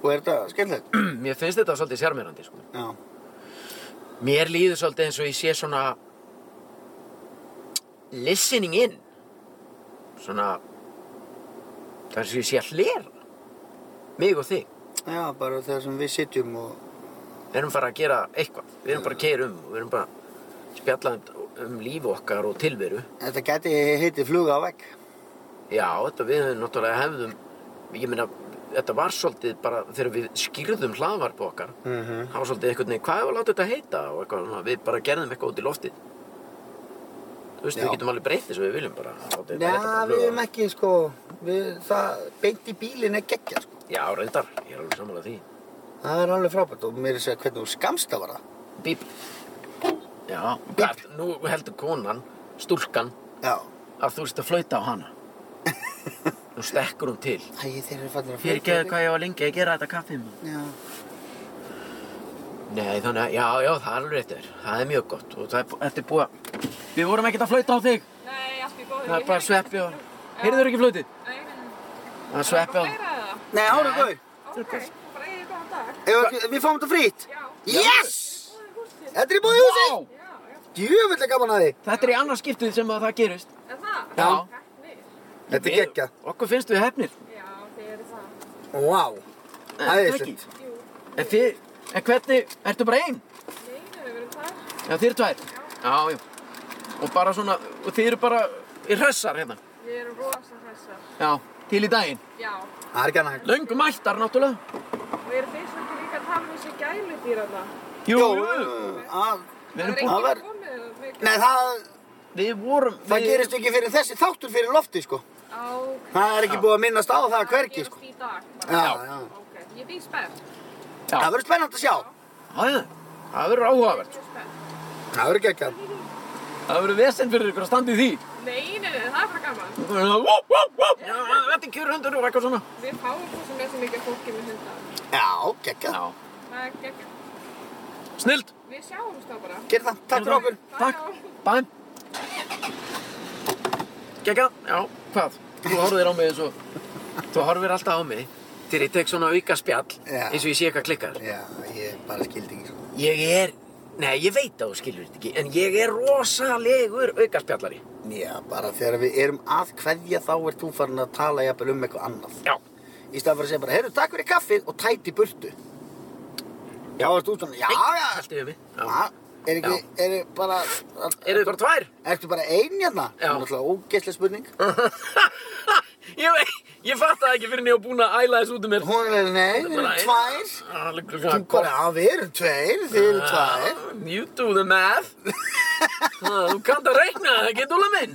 Speaker 2: Og er þetta skemmtilegt?
Speaker 1: Mér finnst þetta svolítið sjarmerandi, sko.
Speaker 2: Já.
Speaker 1: Mér líður svolítið eins og ég sé svona listening in. Svona, það er svo ég sé að hlera. Mig og þig.
Speaker 2: Já, bara þegar sem við sitjum og...
Speaker 1: Við erum bara að gera eitthvað. Við erum bara að keira um og við erum bara að spjalla um, um líf okkar og tilveru.
Speaker 2: Þetta geti heitið fluga á vegg.
Speaker 1: Já, þetta við höfum náttúrulega hefðum, ég meina, þetta var svolítið bara þegar við skýrðum hlaðvarp okkar.
Speaker 2: Mhm.
Speaker 1: Það var svolítið einhvern veginn, hvað hefur látið þetta heita og eitthvað svona, við bara gerðum eitthvað út í loftið. Þú veist, við
Speaker 2: Já.
Speaker 1: getum alveg breytið sem við viljum bara. láta þetta
Speaker 2: Já,
Speaker 1: heita bara
Speaker 2: við
Speaker 1: fluga.
Speaker 2: erum ekki sko... við, það beint í bílinn er geggja sko.
Speaker 1: Já, reyndar, ég er alveg samanlega því.
Speaker 2: það er alveg frábært og mér er að segja hvernig þú skamst að vara
Speaker 1: Bíp. Já,
Speaker 2: Bíp.
Speaker 1: Bíp. nú heldur konan, stúlkan,
Speaker 2: já,
Speaker 1: að þú ert að flauta á hana. Nú stekkur hún til.
Speaker 2: æ, þeir eru fannir að
Speaker 1: Fyrir ekki hvað ég var lengi að gera þetta kaffið maður.
Speaker 2: já,
Speaker 1: Nei, þannig að, já, já, það er alveg rétt þér. Það er mjög gott og það er, bú- þetta er búið að... Við vorum ekkert að flauta á þig.
Speaker 3: Nei, allt í góðu.
Speaker 1: Það er bara sveppi og...
Speaker 3: Já.
Speaker 1: Heyrður ekki flautið?
Speaker 3: Nei, nei,
Speaker 1: Það er sveppi og...
Speaker 3: meira eða?
Speaker 2: nei, árið gauð
Speaker 3: Ok, bara eigið góðan dag.
Speaker 2: við fáum þetta frýtt
Speaker 3: Já.
Speaker 2: yes,
Speaker 3: Góðan húsið.
Speaker 2: þetta er í búið húsi
Speaker 1: Vá!
Speaker 3: Já, já.
Speaker 2: djöfull er gaman að því
Speaker 1: Þetta er í annars skiptið sem að það gerist.
Speaker 3: Er það?
Speaker 1: Já.
Speaker 3: Heppnir.
Speaker 2: þetta er
Speaker 1: Við-
Speaker 2: geggja,
Speaker 1: Okkur finnst við hefnir.
Speaker 3: Já, þið eru það.
Speaker 2: wow Æðislegt.
Speaker 3: Jú.
Speaker 1: En þið, en hvernig, ertu bara einn?
Speaker 3: Nei, nei, við erum það.
Speaker 1: Já, þið eru tvær. Já, já. Og bara svona, og þið eru bara í hressar hérna.
Speaker 3: Við erum rosa hressar.
Speaker 1: Já, til í daginn.
Speaker 3: Já.
Speaker 2: það er ekki annað hægt
Speaker 1: Löngu mættar náttúrulega.
Speaker 3: Við erum fyrst ekki líka að tala um þessi gæludýrana.
Speaker 1: Jú,
Speaker 2: að-
Speaker 1: Við
Speaker 3: Það
Speaker 1: erum
Speaker 3: er
Speaker 1: búin,
Speaker 2: Það var-
Speaker 3: enginn komið eða mikið.
Speaker 2: nei, það,
Speaker 1: við vorum,
Speaker 2: það
Speaker 1: við,
Speaker 2: gerist ekki fyrir þessi þáttur fyrir lofti sko
Speaker 3: Á,
Speaker 2: það er ekki
Speaker 1: Já.
Speaker 2: búið að minnast á það hvergi sko
Speaker 3: Það gerist í dag.
Speaker 2: já,
Speaker 3: bara.
Speaker 2: já,
Speaker 3: Ok, ég er því spennt.
Speaker 1: já,
Speaker 2: það verður spennand að sjá
Speaker 1: það er- það verður áhugavert.
Speaker 3: Ég er spennt.
Speaker 2: það verður geggja
Speaker 1: Það verður vesen fyrir ykkur að standa í því.
Speaker 3: Nei, nei, nei, það er bara gaman.
Speaker 1: Það verður það, vop, vop, vop. Já, þetta er kjörhundur og eitthvað svona.
Speaker 3: Við fáum svo sem er svo mikið fólki með hundar.
Speaker 2: já, geggja,
Speaker 1: Já,
Speaker 3: Það er gegn.
Speaker 1: snild.
Speaker 3: Við sjáumst þá bara.
Speaker 2: gerð það, takk fyrir okkur
Speaker 1: Takk, bæm. Gekka, já, hvað? Þú horfir á mig eins og... Þú horfir alltaf á mig til ég tek svona auka spjall
Speaker 2: Já.
Speaker 1: eins og ég sé eitthvað klikkar.
Speaker 2: já, ég bara skildi ekki sko
Speaker 1: Ég er... Nei, ég veit að þú skilur þetta ekki, en ég er rosalegur auka spjallari.
Speaker 2: já, bara þegar við erum að kveðja þá er þú farin að tala jafnvel um eitthvað annað
Speaker 1: Já.
Speaker 2: í stað fyrir að segja bara, heyrðu, takk fyrir kaffið og tæti burtu já, erst þú svona, já, Ah, já,
Speaker 1: Allt yfir mig.
Speaker 2: já
Speaker 1: Já.
Speaker 2: er ekki, er bara
Speaker 1: Eru þið bara tvær?
Speaker 2: ertu bara ein hérna
Speaker 1: Já.
Speaker 2: það er náttúrulega ógeðslega spurning
Speaker 1: ég vei... Ég fatt það ekki fyrir en ég var búin að æla þessu út um mér.
Speaker 2: Hún er, nei, við erum tvær. Þú bara, já, við erum tveir, þið eru tvær.
Speaker 1: You do the math. Ah, Þú kannt að reikna, það ekki, Dúla minn?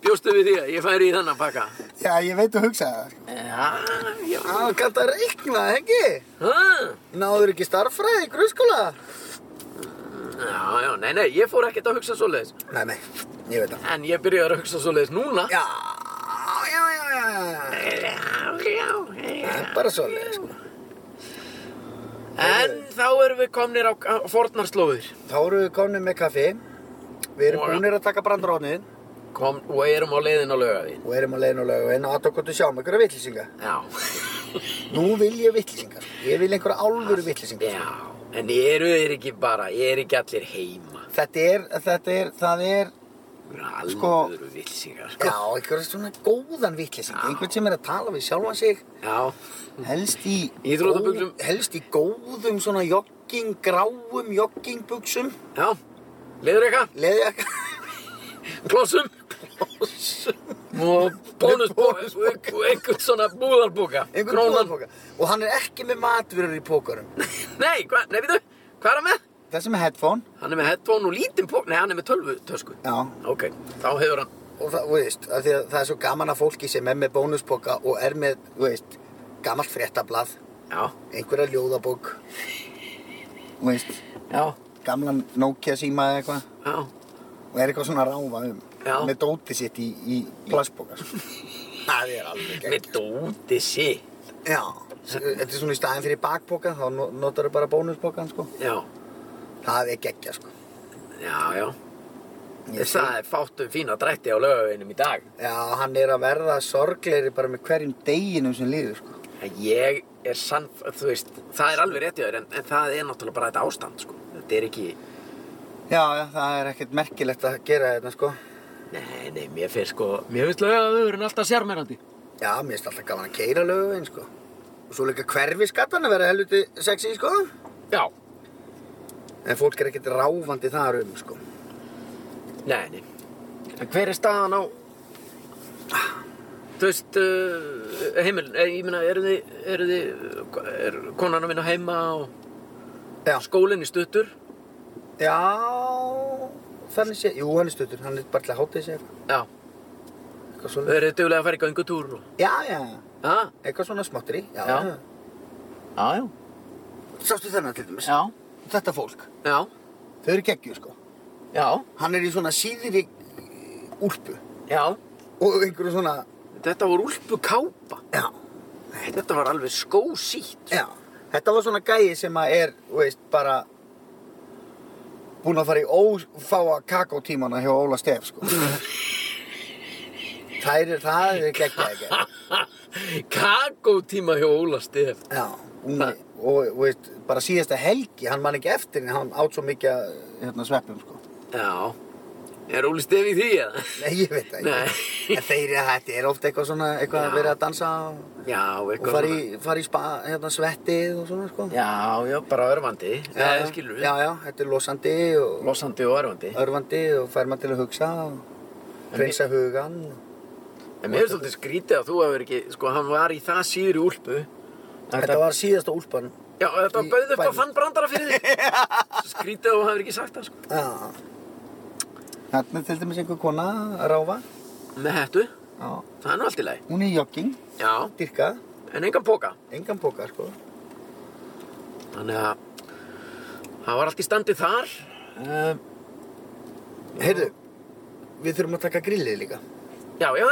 Speaker 1: Bjóstu við því að ég færi í þennan pakka?
Speaker 2: Já, ég veit að hugsa það. sko.
Speaker 1: Já, já.
Speaker 2: Já, kannt að reikna, ekki?
Speaker 1: Ha?
Speaker 2: Náður ekki starffræði í grunnskóla?
Speaker 1: Já, já, nei, nei, ég fór ekkert að hugsa svoleiðis.
Speaker 2: Nei, nei, ég veit það.
Speaker 1: En ég byrjaði að hugsa svoleiðis núna.
Speaker 2: Já, já, já, já, já.
Speaker 1: Já, já, já.
Speaker 2: Það er bara svolítið, sko.
Speaker 1: En þá erum við komnir á, á fornarslóðir.
Speaker 2: Þá erum við komin með kaffi. Við erum
Speaker 1: Og-
Speaker 2: búinir að taka brandarónið
Speaker 1: Kom, og erum á leiðin á laugavín.
Speaker 2: og erum að leiðin og lögavinn og aðtokkvöldu sjáum einhverja vitlýsinga.
Speaker 1: Já,
Speaker 2: Nú vil ég vitlýsinga. Ég vil einhverja álfuru vitlýsinga.
Speaker 1: já. En eru þeir ekki bara, eru ekki allir heima?
Speaker 2: Þetta er, þetta er, það er
Speaker 1: Þú eru alveg
Speaker 2: Sko-
Speaker 1: sko, vilsingar.
Speaker 2: Já, einhverja svona góðan vitlising, einhvern sem er að tala við sjálfan sig,
Speaker 1: Já,
Speaker 2: helst í,
Speaker 1: Íþróttabuxum.
Speaker 2: góð- helst í góðum svona jogging, gráum joggingbuxum,
Speaker 1: já. Leður eitthvað?
Speaker 2: leðjaka,
Speaker 1: Klossum? Og bónusbóka og einhvern svona búðarbóka. Krónan.
Speaker 2: og hann er ekki með matvörur í pókarum.
Speaker 1: Nei, hva, nei, veitu, hvað er hann með?
Speaker 2: Þessi með headphone,
Speaker 1: Hann er með headphone og lítinn pók, nei, hann er með tölvutösku.
Speaker 2: já,
Speaker 1: Ok, þá hefur hann.
Speaker 2: og það, þú veist, af því að það er svo gaman að fólki sem er með bónuspoka og er með, þú veist, gamalt fréttablað,
Speaker 1: Já,
Speaker 2: einhverja ljóðabók, þú veist,
Speaker 1: já,
Speaker 2: gamlan Nokia síma eða eitthvað.
Speaker 1: já,
Speaker 2: og er eitthvað svona að ráfa um
Speaker 1: Já.
Speaker 2: með dótið sitt í, í plastbóka sko. það er alveg
Speaker 1: með
Speaker 2: gegn
Speaker 1: dóti sitt.
Speaker 2: já, þetta er svona í staðin fyrir bakbóka þá no- notar þau bara bónusbókan sko.
Speaker 1: Já,
Speaker 2: það er geggja sko.
Speaker 1: já, já.
Speaker 2: Ég sé-
Speaker 1: Það er fátum fína drætti á lögavinnum í dag.
Speaker 2: já, hann er að verða sorgleiri bara með hverjum deginum sem líður sko.
Speaker 1: En Ég er sann, þú veist, það er alveg rétt í þér, en, en það er náttúrulega bara þetta ástand, sko. Þetta er ekki,
Speaker 2: já, já, það er ekkert merkilegt að gera þetta sko.
Speaker 1: nei, nei, mér finnst sko, mér finnst lögavinn alltaf sérmennandi.
Speaker 2: já, mér finnst alltaf gaman að keira lögu einn sko. og svo líka hverfi skattan að vera helviti sexy sko.
Speaker 1: Já.
Speaker 2: en fólk er ekkert ráfandi þar um sko.
Speaker 1: Nei, nei. En hver er staðan á, þú veist, uh, heimil, ég meina, eru þið, eru þið, er konan að vinna heima og
Speaker 2: já,
Speaker 1: skólinn í stuttur?
Speaker 2: já þannig sé, jú hann er stuttur hann er bara til að hátta í sér
Speaker 1: Já.
Speaker 2: eitthvað svona
Speaker 1: Þau eru duglega að fara í göngutúr og...
Speaker 2: Já, já,
Speaker 1: Já,
Speaker 2: eitthvað svona smáttri Já,
Speaker 1: Já. já, já.
Speaker 2: Sástu þennan til dæmis?
Speaker 1: Já,
Speaker 2: Þetta fólk,
Speaker 1: já,
Speaker 2: þau eru geggjur sko
Speaker 1: já,
Speaker 2: Hann er í svona síðri úlpu
Speaker 1: já.
Speaker 2: og einhverju svona
Speaker 1: Þetta voru úlpu kápa.
Speaker 2: Já,
Speaker 1: Þetta var alveg skósýtt.
Speaker 2: já Þetta var svona gæi sem að er, þú veist, bara búinn að fara í ófáa kakótímana hjá Óla Stef sko Það er, það er geggjað ekki
Speaker 1: Kakótíma hjá Óla Stef.
Speaker 2: Já, hún,
Speaker 1: Það-
Speaker 2: og, og veist, bara síðasta helgi, hann man ekki eftir en hann átt svo mikið að, hérna, sveppum, sko.
Speaker 1: Já. Er Óli Stef í því eða?
Speaker 2: Nei, ég veit það ekki.
Speaker 1: Nei.
Speaker 2: En þeir, þetta er ofta eitthvað svona, eitthvað að
Speaker 1: Já.
Speaker 2: vera að dansa og,
Speaker 1: Já, eitthvað.
Speaker 2: og fara í, fara í spa, hérna, svettið og svona, sko.
Speaker 1: Já, já, bara örvandi. Já, það skilur við.
Speaker 2: Já, já, þetta er losandi og
Speaker 1: Losandi og örvandi.
Speaker 2: örvandi og fær maður til að hugsa og
Speaker 1: En
Speaker 2: reynsa hugan.
Speaker 1: En mér er svolítið skrítið að þú hefur ekki, sko, hann var í það síður í úlpu.
Speaker 2: Þetta var síðasta úlpan.
Speaker 1: Já, þetta
Speaker 2: í
Speaker 1: bauð upp á
Speaker 2: bænum.
Speaker 1: fann brandara fyrir þig. skrítið að þú hefur ekki sagt það, sko.
Speaker 2: Já. Þarna er til dæmis einhver kona að ráfa.
Speaker 1: Með hættu,
Speaker 2: Já.
Speaker 1: það er nú allt í lagi.
Speaker 2: Hún er í jogging,
Speaker 1: Já,
Speaker 2: dyrka,
Speaker 1: en engan póka.
Speaker 2: engan póka, sko.
Speaker 1: Þannig að það var allt í standi þar.
Speaker 2: Ehm.
Speaker 1: Uh,
Speaker 2: Heyrðu, við þurfum að taka grillið líka.
Speaker 1: já, já,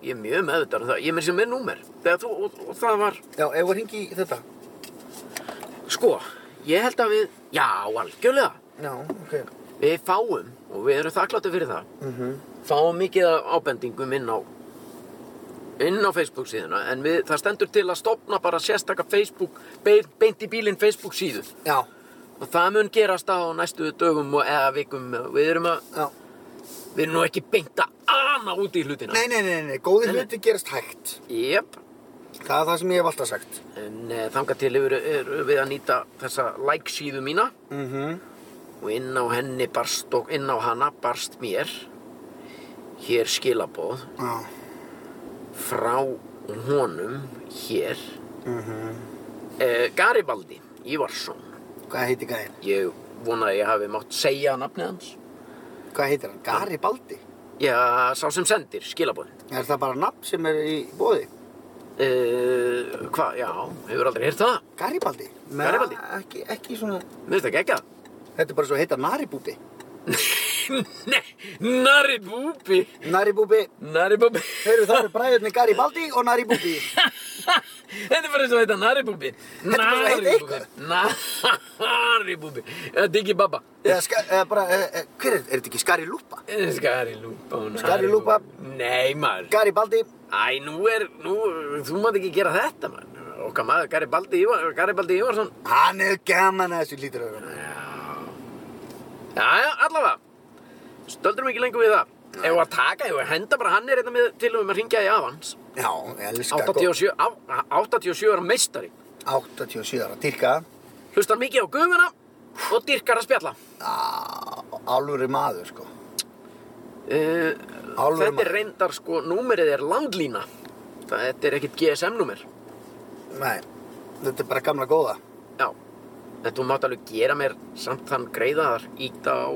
Speaker 1: ég er mjög meðvitað um það. Ég er mér sem með númer. Þegar þú, og, og það var,
Speaker 2: Já, ef við hringi í þetta.
Speaker 1: sko, ég held að við, já, algjörlega.
Speaker 2: Já, ok.
Speaker 1: Við fáum, og við erum þakklátti fyrir það,
Speaker 2: Mm
Speaker 1: fáum mikið af ábendingum inn á inn á Facebook síðuna en við, það stendur til að stopna bara sérstaka Facebook beint, beint í bílinn Facebook síðu
Speaker 2: Já,
Speaker 1: og það mun gerast á næstu dögum og eða vikum við erum að
Speaker 2: já.
Speaker 1: við erum nú ekki beint að ana út í hlutina
Speaker 2: Nei, nei, nei, nei, góði
Speaker 1: Nei, nei.
Speaker 2: hluti gerast hægt.
Speaker 1: Jep,
Speaker 2: Það er það sem ég hef alltaf sagt.
Speaker 1: en e, þangað til eru er, við að nýta þessa like síðu mína
Speaker 2: Mm -hmm.
Speaker 1: og inn á henni barst og inn á hana barst mér hér skilaboð
Speaker 2: Já.
Speaker 1: frá honum hér
Speaker 2: Mm -hmm.
Speaker 1: Eh, Garibaldi Ívarsson
Speaker 2: Hvað heitir gæðin?
Speaker 1: ég vona að ég hafi mátt segja nafnið hans
Speaker 2: Hvað heitir hann? Garibaldi?
Speaker 1: já, sá sem sendir, skilabóðin
Speaker 2: Er það bara nafn sem er í bóði?
Speaker 1: uh, hvað, já, hefur aldrei heyrt það
Speaker 2: Garibaldi? Nei,
Speaker 1: Garibaldi?
Speaker 2: Ekki, ekki svona...
Speaker 1: mér finnst það ekki
Speaker 2: Þetta er bara svo að heita Naribúbi.
Speaker 1: ekki nei, Nari Búbi
Speaker 2: Naribúbi.
Speaker 1: Nari Búbi
Speaker 2: Heyrðu, það eru bræðurnir Garibaldi og Naribúbi.
Speaker 1: þetta er bara eins og þetta Nari Búbi
Speaker 2: er bara eins og heita
Speaker 1: Nari Búbi eða Diggi Baba
Speaker 2: eða, ska, eða bara, e, e, hver er, er þetta ekki Skarilúpa?
Speaker 1: Eh, Skari Lúpa og Nari
Speaker 2: Skari Lúpa.
Speaker 1: Búbbi. nei, maður
Speaker 2: Garibaldi.
Speaker 1: Æ, nú er, nú, þú mátt ekki gera þetta, mann. Okkar maður, Garibaldi, Ívar, Garibaldi Ívarsson.
Speaker 2: Hann er gaman að þessu lítur öðrum.
Speaker 1: Já, já, allavega. Stöldrum ekki lengur við það. Ef við að taka, ef við að henda bara hann er hérna með til og með að ringja í avans.
Speaker 2: Já, ég elska gott-
Speaker 1: 87, á, 87 ára meistari.
Speaker 2: 87 ára, dyrka
Speaker 1: Hlustar mikið á gufuna og dyrkar að spjalla.
Speaker 2: á- alvöru maður sko
Speaker 1: Uh,
Speaker 2: Alvöru
Speaker 1: þetta er
Speaker 2: maður.
Speaker 1: reyndar, sko, númerið er landlína. Það, þetta er ekkit GSM-númer.
Speaker 2: Nei, þetta er bara gamla góða
Speaker 1: Já, en þú mátt alveg gera mér samt þann greiðaðar íta á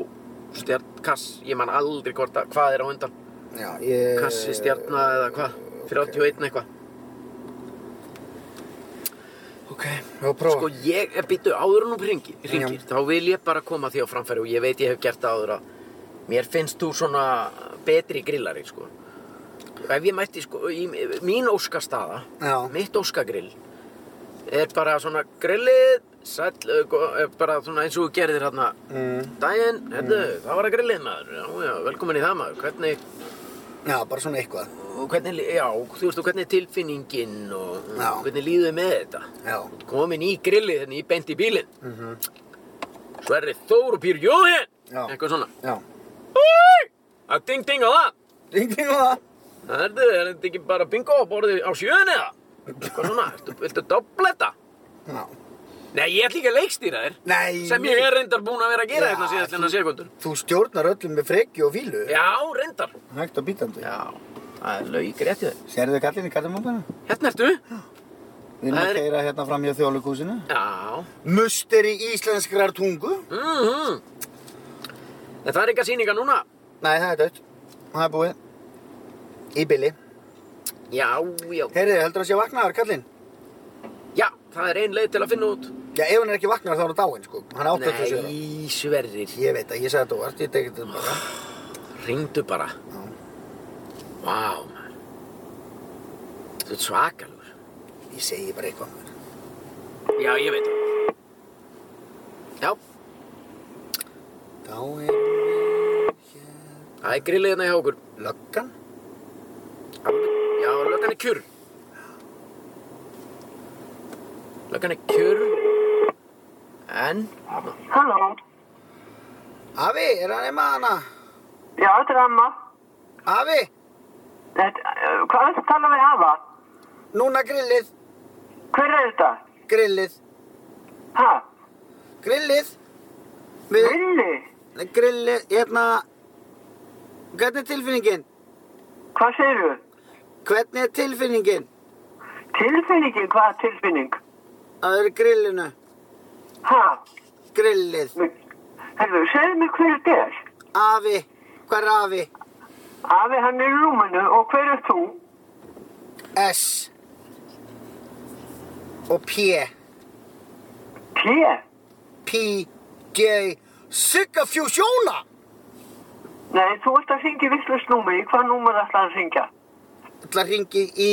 Speaker 1: stjarnkass, ég man aldrei hvort að hvað er á undan,
Speaker 2: Já, ég...
Speaker 1: kassi stjarna eða hvað, 31 eitthvað.
Speaker 2: Ok, ég prófa
Speaker 1: Sko ég, býtu, áður en hún ringi, ringir,
Speaker 2: Já.
Speaker 1: þá vil ég bara koma því á framfæri og ég veit ég hef gert það áður að mér finnst þú svona betri grillari, sko. Ef ég mætti, sko, í, mín óskastaða,
Speaker 2: Já.
Speaker 1: mitt óskagrill, er bara svona grillið, sæll, eh, gó- eh, bara svona eins og þú gerðir hérna,
Speaker 2: mm.
Speaker 1: Daginn, hérna, það var að grillið maður, já, já, velkomin í það maður, hvernig,
Speaker 2: Já, bara svona eitthvað
Speaker 1: og hvernig, li- já, þú veist, og hvernig er tilfinningin og
Speaker 2: Já.
Speaker 1: hvernig líður þér með þetta?
Speaker 2: Já,
Speaker 1: Komin í grillið, hérna, í beint í bílinn, Sverri Þór og Pýr Jóðin,
Speaker 2: Já.
Speaker 1: eitthvað svona,
Speaker 2: já
Speaker 1: Úi! að ding ding á það,
Speaker 2: Ringdi nú það
Speaker 1: hérna, er þetta ekki bara bingo á borðið á sjöðun eða? Eitthvað svona, ertu, viltu dobletta?
Speaker 2: Já
Speaker 1: Nei, ég ætla ekki að leikstýra þér,
Speaker 2: Nei
Speaker 1: sem ég er reyndar búin að vera að gera
Speaker 2: Já,
Speaker 1: hérna síðast hérna sekundur.
Speaker 2: Þú stjórnar öllum með frekju og fílu
Speaker 1: Já, reyndar.
Speaker 2: Hægt og bítandi
Speaker 1: Já, það er laug réttið.
Speaker 2: Sérðu kallinn í kallumópana?
Speaker 1: Hérna ertu?
Speaker 2: Við erum
Speaker 1: Það
Speaker 2: að
Speaker 1: er-
Speaker 2: keira hérna fram hjá þjóðleikúsinu
Speaker 1: Já.
Speaker 2: Musteri íslenskrar tungu
Speaker 1: Mm En það er eitthvað sýninga núna.
Speaker 2: Nei, það er dött Það er búið Í bili.
Speaker 1: Já, já.
Speaker 2: Heyrðu, heldur það sé vaknaður, kallinn?
Speaker 1: Já, það er ein leið til að finna út.
Speaker 2: Já, ef hann er ekki vaknaður þá er hann dáinn, sko. Hann átt þetta sér.
Speaker 1: Nei, Sverrir.
Speaker 2: Ég veit að ég sagði þetta óvart, ég tekið þetta um bara.
Speaker 1: Ringdu bara.
Speaker 2: Já.
Speaker 1: Vá, maður. Þú ert svakalur.
Speaker 2: Ég segi bara eitthvað. um maður.
Speaker 1: Já, ég veit það. Já,
Speaker 2: Þá er
Speaker 1: það er grillið hérna hjá okkur.
Speaker 2: löggan.
Speaker 1: Alveg- Já, löggan er kjur. Löggan er kjur. En, ná,
Speaker 4: Halló,
Speaker 2: Afi, er hann emma hana?
Speaker 4: já þetta er amma.
Speaker 2: Afi,
Speaker 4: Þetta, uh, hvað er þetta að tala við afa?
Speaker 2: núna grillið,
Speaker 4: Hver er þetta?
Speaker 2: grillið,
Speaker 4: Ha?
Speaker 2: grillið. Við,
Speaker 4: Villi?
Speaker 2: Nei, grillið, hérna, hvernig er tilfinningin?
Speaker 4: Hvað segirðu?
Speaker 2: Hvernig er tilfinningin?
Speaker 4: Tilfinningi, hvað er tilfinning?
Speaker 2: Að vera í grillinu,
Speaker 4: Ha?
Speaker 2: grillið,
Speaker 4: Herðu, segðu mér hver þetta er.
Speaker 2: afi, hvað er afi?
Speaker 4: Afi hann er í rúminu og hver er þú?
Speaker 2: S og P,
Speaker 4: P.
Speaker 2: P, J, Sigga Fjósjóna.
Speaker 4: Nei, þú ert að syngja visslust númeri. Hvað númer ætlaði að syngja?
Speaker 2: ætla að ringi í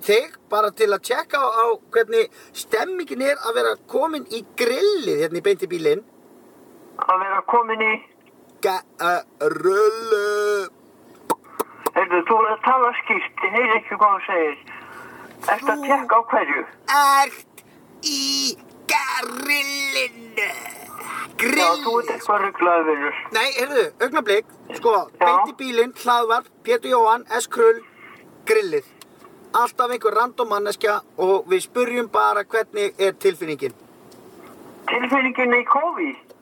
Speaker 2: þig bara til að tjekka á, á hvernig stemmingin er að vera komin í grillið hérna í beinti bílinn.
Speaker 4: Að vera komin í...
Speaker 2: eh, Grullu.
Speaker 4: Herðu, þú ert að tala skýrt. Ég heyri ekki hvað þú segir. Ertu að tjekka á hverju?
Speaker 2: Ert í grillinu.
Speaker 4: Já, þú ert
Speaker 2: Grillið.
Speaker 4: eitthvað rugglaður vinnur.
Speaker 2: Nei, heyrðu, augnablík, sko,
Speaker 4: Já.
Speaker 2: beinti bílinn, hlaðvarp, Pétur Jóhann, S-krull, grillið. Alltaf einhver random manneskja og við spurjum bara hvernig er tilfinningin.
Speaker 4: Tilfinningin í COVID?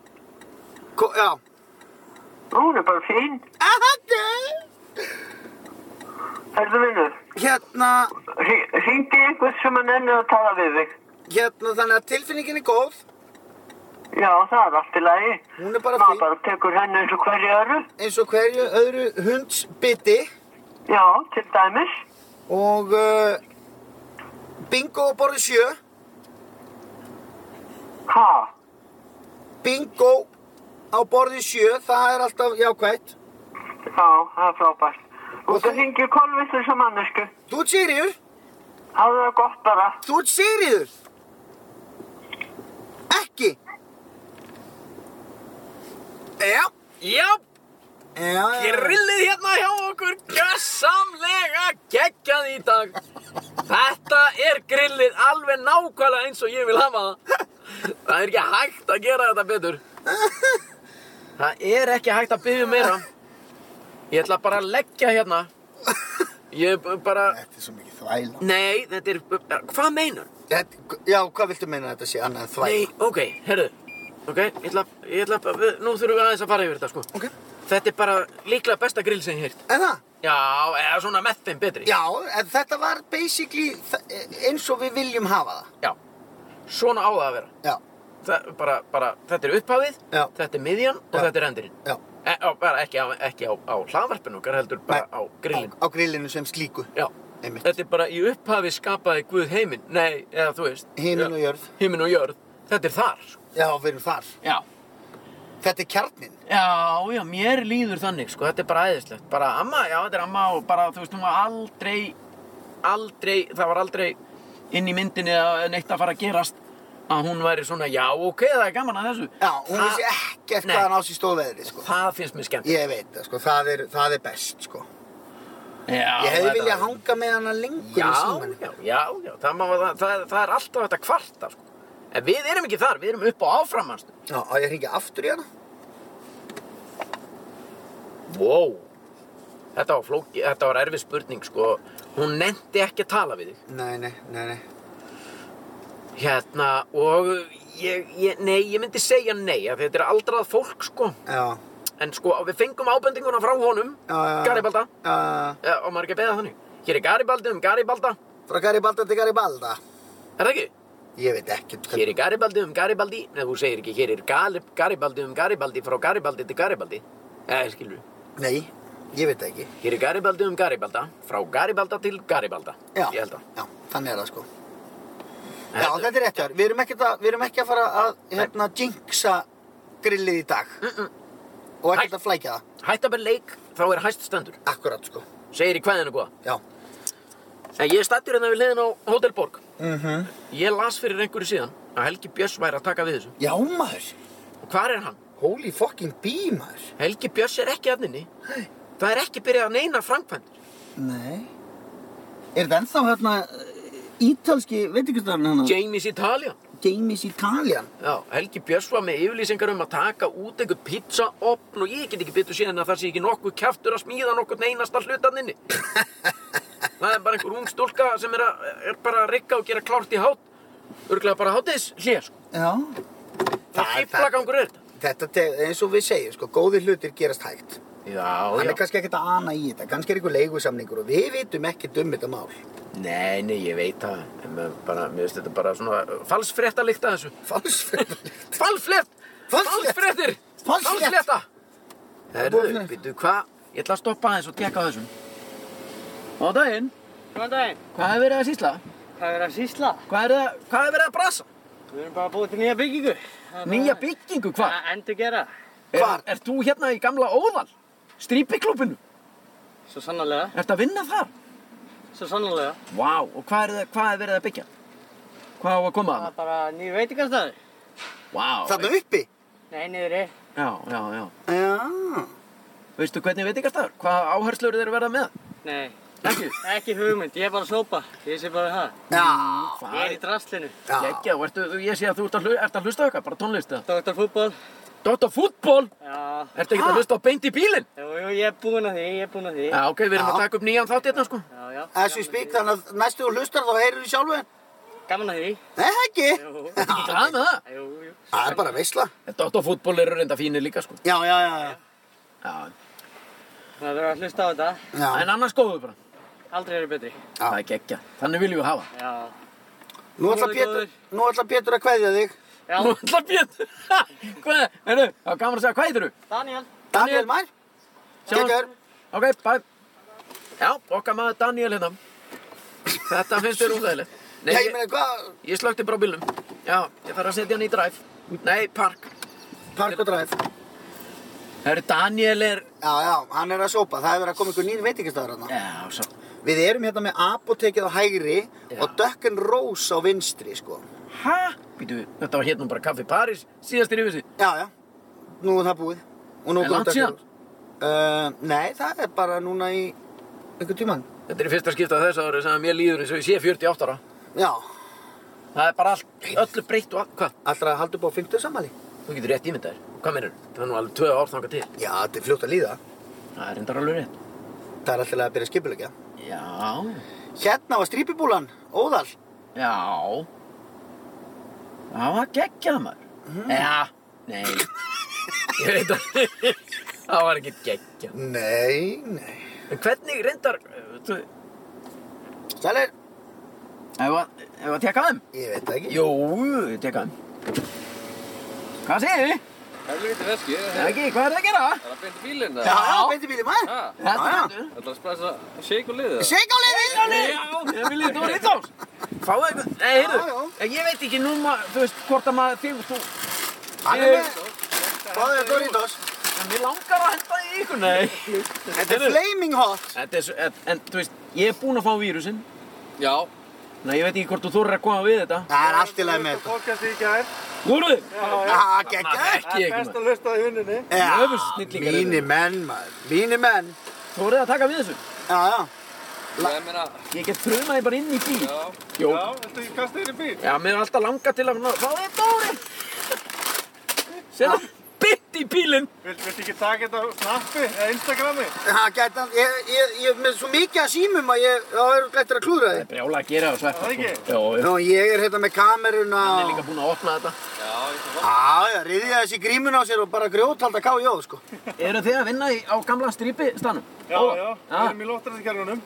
Speaker 2: Ko já.
Speaker 4: Hún er bara fín.
Speaker 2: Aha, nei.
Speaker 4: Herðu vinnur,
Speaker 2: Hérna,
Speaker 4: hringi ykkur sem að nennu að tala við þig.
Speaker 2: Hérna, þannig að tilfinningin er góð,
Speaker 4: Já, það er allt í lagi.
Speaker 2: Hún er bara
Speaker 4: Maður
Speaker 2: fín.
Speaker 4: bara tekur henni eins og hverju öru.
Speaker 2: eins og hverju öðru hundsbytti
Speaker 4: Já, til dæmis.
Speaker 2: og uh, bingo á borði sjö,
Speaker 4: Ha?
Speaker 2: bingo á borði sjö, það er alltaf jákvætt.
Speaker 4: Já, það er frábært. Þú
Speaker 2: Og
Speaker 4: ert
Speaker 2: þú-
Speaker 4: að hringi kolvislu sem mannesku.
Speaker 2: Þú ert sýriður,
Speaker 4: Hafðu það gott bara.
Speaker 2: þú ert sýriður. Ekki. Já,
Speaker 1: já,
Speaker 2: já, já.
Speaker 1: grillið hérna hjá okkur. Gjössamlega geggjað í dag. Þetta er grillið alveg nákvæmlega eins og ég vil hafa það. Það er ekki hægt að gera þetta betur. Það er ekki hægt að byggja meira. Ég ætla bara að leggja hérna. Ég bara...
Speaker 2: Þetta er svo mikið þvæla.
Speaker 1: Nei, þetta er... Hvað meinar?
Speaker 2: Þetta, já, hvað viltu meina að þetta sé annað en þvæla?
Speaker 1: Nei, ok, herru Ok, ég ætla, ég ætla við, Nú þurfum við aðeins að fara yfir þetta sko
Speaker 2: Ok.
Speaker 1: Þetta er bara líklega besta grill sem ég heyrt
Speaker 2: En það?
Speaker 1: Já, eða svona með þeim betri
Speaker 2: Já, en þetta var basically þa- eins og við viljum hafa það.
Speaker 1: Já. Svona á það að vera
Speaker 2: Já,
Speaker 1: það, bara, bara, Þetta er upphafið,
Speaker 2: Já.
Speaker 1: þetta er miðjan og
Speaker 2: Já.
Speaker 1: þetta er endurinn
Speaker 2: já.
Speaker 1: e, á, bara, Ekki á, ekki á, á hlaðvarpinu okkar heldur bara
Speaker 2: Nei.
Speaker 1: á grillin
Speaker 2: Á, á grillinu sem slíku.
Speaker 1: Já,
Speaker 2: Einmitt.
Speaker 1: þetta er bara í upphafi skapaði Guð heiminn Nei, eða þú veist
Speaker 2: Himinn
Speaker 1: Já.
Speaker 2: og jörð.
Speaker 1: Himinn og jörð, þetta er þar sko.
Speaker 2: Já, við erum þar.
Speaker 1: Já
Speaker 2: Þetta er kjarnin.
Speaker 1: Já, já, mér líður þannig, sko, þetta er bara æðislegt, bara amma, já, þetta er amma og bara, þú veist, hún var aldrei, aldrei, það var aldrei inn í myndinni að neitt að fara að gerast að hún væri svona, já, ok, það er gaman að þessu.
Speaker 2: Já, hún
Speaker 1: Það-
Speaker 2: vissi ekkert
Speaker 1: Nei.
Speaker 2: hvað hann á sér stóð veðri, sko.
Speaker 1: Það finnst mér skemmt.
Speaker 2: Ég veit það, sko. Það er, það er best, sko.
Speaker 1: Já,
Speaker 2: Ég hefði
Speaker 1: þetta-
Speaker 2: viljað hanga með hana lengur í
Speaker 1: Já,
Speaker 2: símanum.
Speaker 1: já, já, já, það, má, það, það, það er alltaf þetta kvarta, sko. En við erum ekki þar, við erum upp á áframanstu.
Speaker 2: Já, á ég hringi aftur í hana?
Speaker 1: Wow, þetta var flóki, þetta var erfið spurning, sko, hún nefndi ekki að tala við þig.
Speaker 2: Nei, nei, nei, nei.
Speaker 1: Hérna, og ég, ég, nei, ég myndi segja nei, að þetta er aldrað fólk, sko.
Speaker 2: Já,
Speaker 1: En sko, við fengum ábendinguna frá honum,
Speaker 2: já, já.
Speaker 1: Garibalda,
Speaker 2: Já,
Speaker 1: ja, og maður er ekki að beða þannig. Hér er Garibaldi um Garibalda,
Speaker 2: frá Garibalda til Garibalda.
Speaker 1: er það ekki?
Speaker 2: Ég veit ekkert hvað...
Speaker 1: Hér er Garibaldi um Garibaldi, neða þú segir ekki, hér er Galip, Garibaldi um Garibaldi frá Garibaldi til Garibaldi. Eða, skilur við.
Speaker 2: Nei. Ég veit það ekki.
Speaker 1: Hér er Garibaldi um Garibalda, frá Garibalda til Garibalda.
Speaker 2: Já.
Speaker 1: Ég held að.
Speaker 2: Já, þannig er það sko. Já,
Speaker 1: Þetta-
Speaker 2: þetta er rétt hjá þér. Við erum ekkert að, við erum ekki að fara að, hérna, jinxa grillið í dag. Og ekkert
Speaker 1: Hæ.
Speaker 2: að flækja það.
Speaker 1: Hætt að vera leik, þá er hæst stendur.
Speaker 2: Akkurat sko.
Speaker 1: Segir í kvæðinu góða.
Speaker 2: Já.
Speaker 1: En ég er stattur hérna við liðin á Hotel Borg.
Speaker 2: Mm
Speaker 1: Ég las fyrir einhverju síðan að Helgi Björns væri að taka við þessu.
Speaker 2: Já maður.
Speaker 1: Og hvar er hann?
Speaker 2: Holy fucking bee maður.
Speaker 1: Helgi Björns er ekki að nynni. Það er ekki byrjað að neina framkvæmdur.
Speaker 2: Nei. Er þetta ennþá hérna ítalski, veit ekki hvað hann hana?
Speaker 1: James Italian.
Speaker 2: James Italian.
Speaker 1: Já, Helgi Björns var með yfirlýsingar um að taka út einhver pizzaopn og ég get ekki betur síðan að það sé ekki nokkuð kjaftur að smíða nokkuð einasta hlutaninni. það er bara einhver ung stúlka sem er, að, er bara að rigga og gera klárt í hát. Örglega bara hátis hlýja, sko.
Speaker 2: Já.
Speaker 1: Það
Speaker 2: Það-
Speaker 1: er fýblagangur er þetta.
Speaker 2: Þetta te- eins og við segjum, sko, góðir hlutir gerast hægt.
Speaker 1: Já,
Speaker 2: hann er
Speaker 1: já.
Speaker 2: kannski ekkert að ana í þetta, kannski er einhver leigusamningur og við vitum ekkert um þetta mál.
Speaker 1: Nei, nei, ég veit það. En mér bara, mér finnst þetta bara svona uh, falsfrétt að líkta þessu.
Speaker 2: Falsfrétt.
Speaker 1: Falsfrétt!
Speaker 2: Falsfrétt!
Speaker 1: Falsfréttir!
Speaker 2: Falsfrétt!
Speaker 1: Falsfrétta! Herru,
Speaker 2: Falsfrétt.
Speaker 1: býttu, hvað? Ég ætla að stoppa aðeins og tekka á þessum. Góðan daginn.
Speaker 5: Góðan daginn,
Speaker 1: Hvað hefur verið að sýsla?
Speaker 5: hvað er að sýsla?
Speaker 1: Hvað er það, hvað hefur verið að brasa?
Speaker 5: Við erum bara að búið til nýja byggingu.
Speaker 1: Nýja byggingu, hvað?
Speaker 5: Að endur gera,
Speaker 1: Er, er þú hérna í gamla óðal? Strípiklúpinu?
Speaker 5: svo sannlega,
Speaker 1: Ertu að vinna þar?
Speaker 5: svo sannlega.
Speaker 1: Vá, og hvað er, það, hvað er verið að byggja? Hvað á að koma
Speaker 5: Það
Speaker 1: að?
Speaker 5: er bara nýju veitingastæður.
Speaker 1: Vá.
Speaker 2: Þarna uppi?
Speaker 5: Nei, niðri.
Speaker 1: Já, já, já.
Speaker 2: Já.
Speaker 1: Veistu hvernig veitingastæður? Hvað áherslur eru verið með?
Speaker 5: Nei,
Speaker 1: Ekki.
Speaker 5: ekki hugmynd, ég er bara að sópa. Ég sé bara það.
Speaker 2: Já.
Speaker 1: Hvað?
Speaker 5: Ég er í draslinu.
Speaker 1: Gekkja, og ertu, ég sé að þú ert að, hlu, ert að hlusta á eitthvað, bara tónlist eða?
Speaker 5: Dr. Fútbol.
Speaker 1: Dóttar fútból?
Speaker 5: Já,
Speaker 1: Ertu ekki að hlusta á beint í bílinn?
Speaker 5: jú, jú, ég er búinn að því, ég er búinn að því.
Speaker 1: Já, ok, við erum
Speaker 2: Já.
Speaker 1: að taka upp nýjan þátt hérna, sko.
Speaker 5: Já, já.
Speaker 2: As we speak, þannig að næstu þú hlustar þá heyrur þú sjálfu henn.
Speaker 5: Gaman að því.
Speaker 2: Nei, það ekki.
Speaker 5: Jú,
Speaker 1: Ekki glað með það.
Speaker 5: jú, jú.
Speaker 2: Það er bara veisla.
Speaker 1: Dóttar fútból eru reynda fínir líka, sko.
Speaker 2: Já, já, já. já.
Speaker 1: Já,
Speaker 5: Það verður að hlusta á þetta.
Speaker 2: Já.
Speaker 1: en annars góðu bara.
Speaker 5: Aldrei eru betri.
Speaker 2: Já.
Speaker 1: Það er gekkja. Þannig viljum við hafa.
Speaker 5: Já.
Speaker 2: Nú ætla
Speaker 5: Góður,
Speaker 2: Pétur,
Speaker 5: góður.
Speaker 2: nú ætla Pétur að kveðja þig.
Speaker 5: Já,
Speaker 1: Nú ætlar Pétur. Ha, Hvað, heyrðu, það var gaman að segja hvað heitir þú?
Speaker 5: Daniel.
Speaker 2: Daniel
Speaker 1: Daniel.
Speaker 2: Mær.
Speaker 1: Sjáumst.
Speaker 2: Gekkar.
Speaker 1: Ok, bæ. Já, okkar maður Daniel hérna. Þetta finnst þér útæðilegt. Nei,
Speaker 2: Já, ég
Speaker 1: ég,
Speaker 2: meina hvað?
Speaker 1: ég slökti bara á bílnum. Já, ég þarf að setja hann í drive. Nei, park.
Speaker 2: Park og dræf.
Speaker 1: Herru, Daniel er...
Speaker 2: Já, já, hann er að sópa. Það hefur verið að koma ykkur nýr veitingastæður hann.
Speaker 1: Já, svo.
Speaker 2: Við erum hérna með apotekið á hægri og dökkan rós á vinstri, sko.
Speaker 1: Hæ? Býtu, þetta var hérna bara kaffi Paris síðastir yfir sig.
Speaker 2: Já, já. Nú er það búið. Og nú
Speaker 1: Er
Speaker 2: komið
Speaker 1: langt
Speaker 2: Dökkan
Speaker 1: síðan?
Speaker 2: Rós. Uh, nei, það er bara núna í einhver tíman.
Speaker 1: Þetta er í fyrsta skipta þess ári sem að mér líður eins og ég sé 48 ára.
Speaker 2: Já,
Speaker 1: Það er bara allt, öllu breytt og allt. Hvað?
Speaker 2: allra að halda upp á 50 sammæli.
Speaker 1: Þú getur rétt ímyndað þér. Hvað meinar? Það er nú alveg tvö ár þangað til.
Speaker 2: Já, þetta er fljótt að líða.
Speaker 1: Það er reyndar alveg rétt.
Speaker 2: Það er alltaf að byrja að skipulegja.
Speaker 1: Já.
Speaker 2: Hérna var strípibúlan, óðal.
Speaker 1: Já Það var geggjað maður Já, nei Mm. Ég veit að Það var ekkert geggjað
Speaker 2: Nei, nei.
Speaker 1: En hvernig reyndar uh, þú-
Speaker 2: Sælir,
Speaker 1: Ef að- ef að tekka þeim?
Speaker 2: ég veit það ekki.
Speaker 1: Jú, ég tekka þeim Hvað segir þið?
Speaker 6: Helviti veski, það
Speaker 1: Ekki, hvað er hérna. það að gera?
Speaker 6: er að beinti bílinn
Speaker 2: Já,
Speaker 6: það.
Speaker 2: já, beint í bíli maður.
Speaker 6: Já.
Speaker 1: Þetta
Speaker 2: Já, já.
Speaker 1: er
Speaker 6: Það er að splæsa shake og liðið það.
Speaker 2: Sveik á leiðin!
Speaker 1: Já, ég vil í Dóri Índás Fáðu eitthvað, nei,
Speaker 2: Já,
Speaker 1: heyrðu Ég veit ekki nú, ma- þú veist, hvort að maður þig þú
Speaker 2: Hann er með, hvað er Doritos?
Speaker 1: En mér langar að henda í ykkur, nei
Speaker 2: Þetta er
Speaker 1: Heyrðu.
Speaker 2: flaming hot.
Speaker 1: Þetta er, svo- en, en, þú veist, ég er búinn að fá vírusinn
Speaker 6: Já.
Speaker 1: Nei, ég veit ekki hvort þú þorir að koma við þetta.
Speaker 2: Það er allt í lagi með þetta.
Speaker 5: Fólkast í gær.
Speaker 1: Þorðu?
Speaker 2: Já, geggjað.
Speaker 1: Ekki ekki maður.
Speaker 5: að hlusta á hunninni.
Speaker 1: Öfus
Speaker 2: Já,
Speaker 1: snillingar eru.
Speaker 2: mínir menn maður, mínir menn.
Speaker 1: Þorðu að taka við þessu?
Speaker 2: Já, já.
Speaker 6: Ég meina,
Speaker 1: Ég get frumað þið bara inn í bíl.
Speaker 6: já.
Speaker 1: Jó.
Speaker 5: Þetta ég kasta þér í bíl.
Speaker 1: Já, mér er alltaf langað til að ná- fá þið Dóri. Ah. Sér það bytt í bílinn.
Speaker 5: Vilt, vilt ekki taka þetta á snappi eða Instagrami?
Speaker 2: Já, gætan, ég, ég, ég er með svo mikið að símum að ég, þá er glættir að klúðra þig.
Speaker 1: Brjála að gera það og sveppa.
Speaker 5: Það ekki?
Speaker 1: Jó, jó.
Speaker 2: Nú, ég er hérna með kameruna
Speaker 1: Hann er
Speaker 2: og...
Speaker 1: líka búinn að opna þetta.
Speaker 6: Já, ég skal fá.
Speaker 2: Já, já, riðja þessi grímun á sér og bara grjóthalda K.J. sko.
Speaker 1: Eru þið að vinna í, á gamla strípi stanum?
Speaker 5: Já, já, við
Speaker 1: Ah,
Speaker 5: erum í lóttaraskerfunum.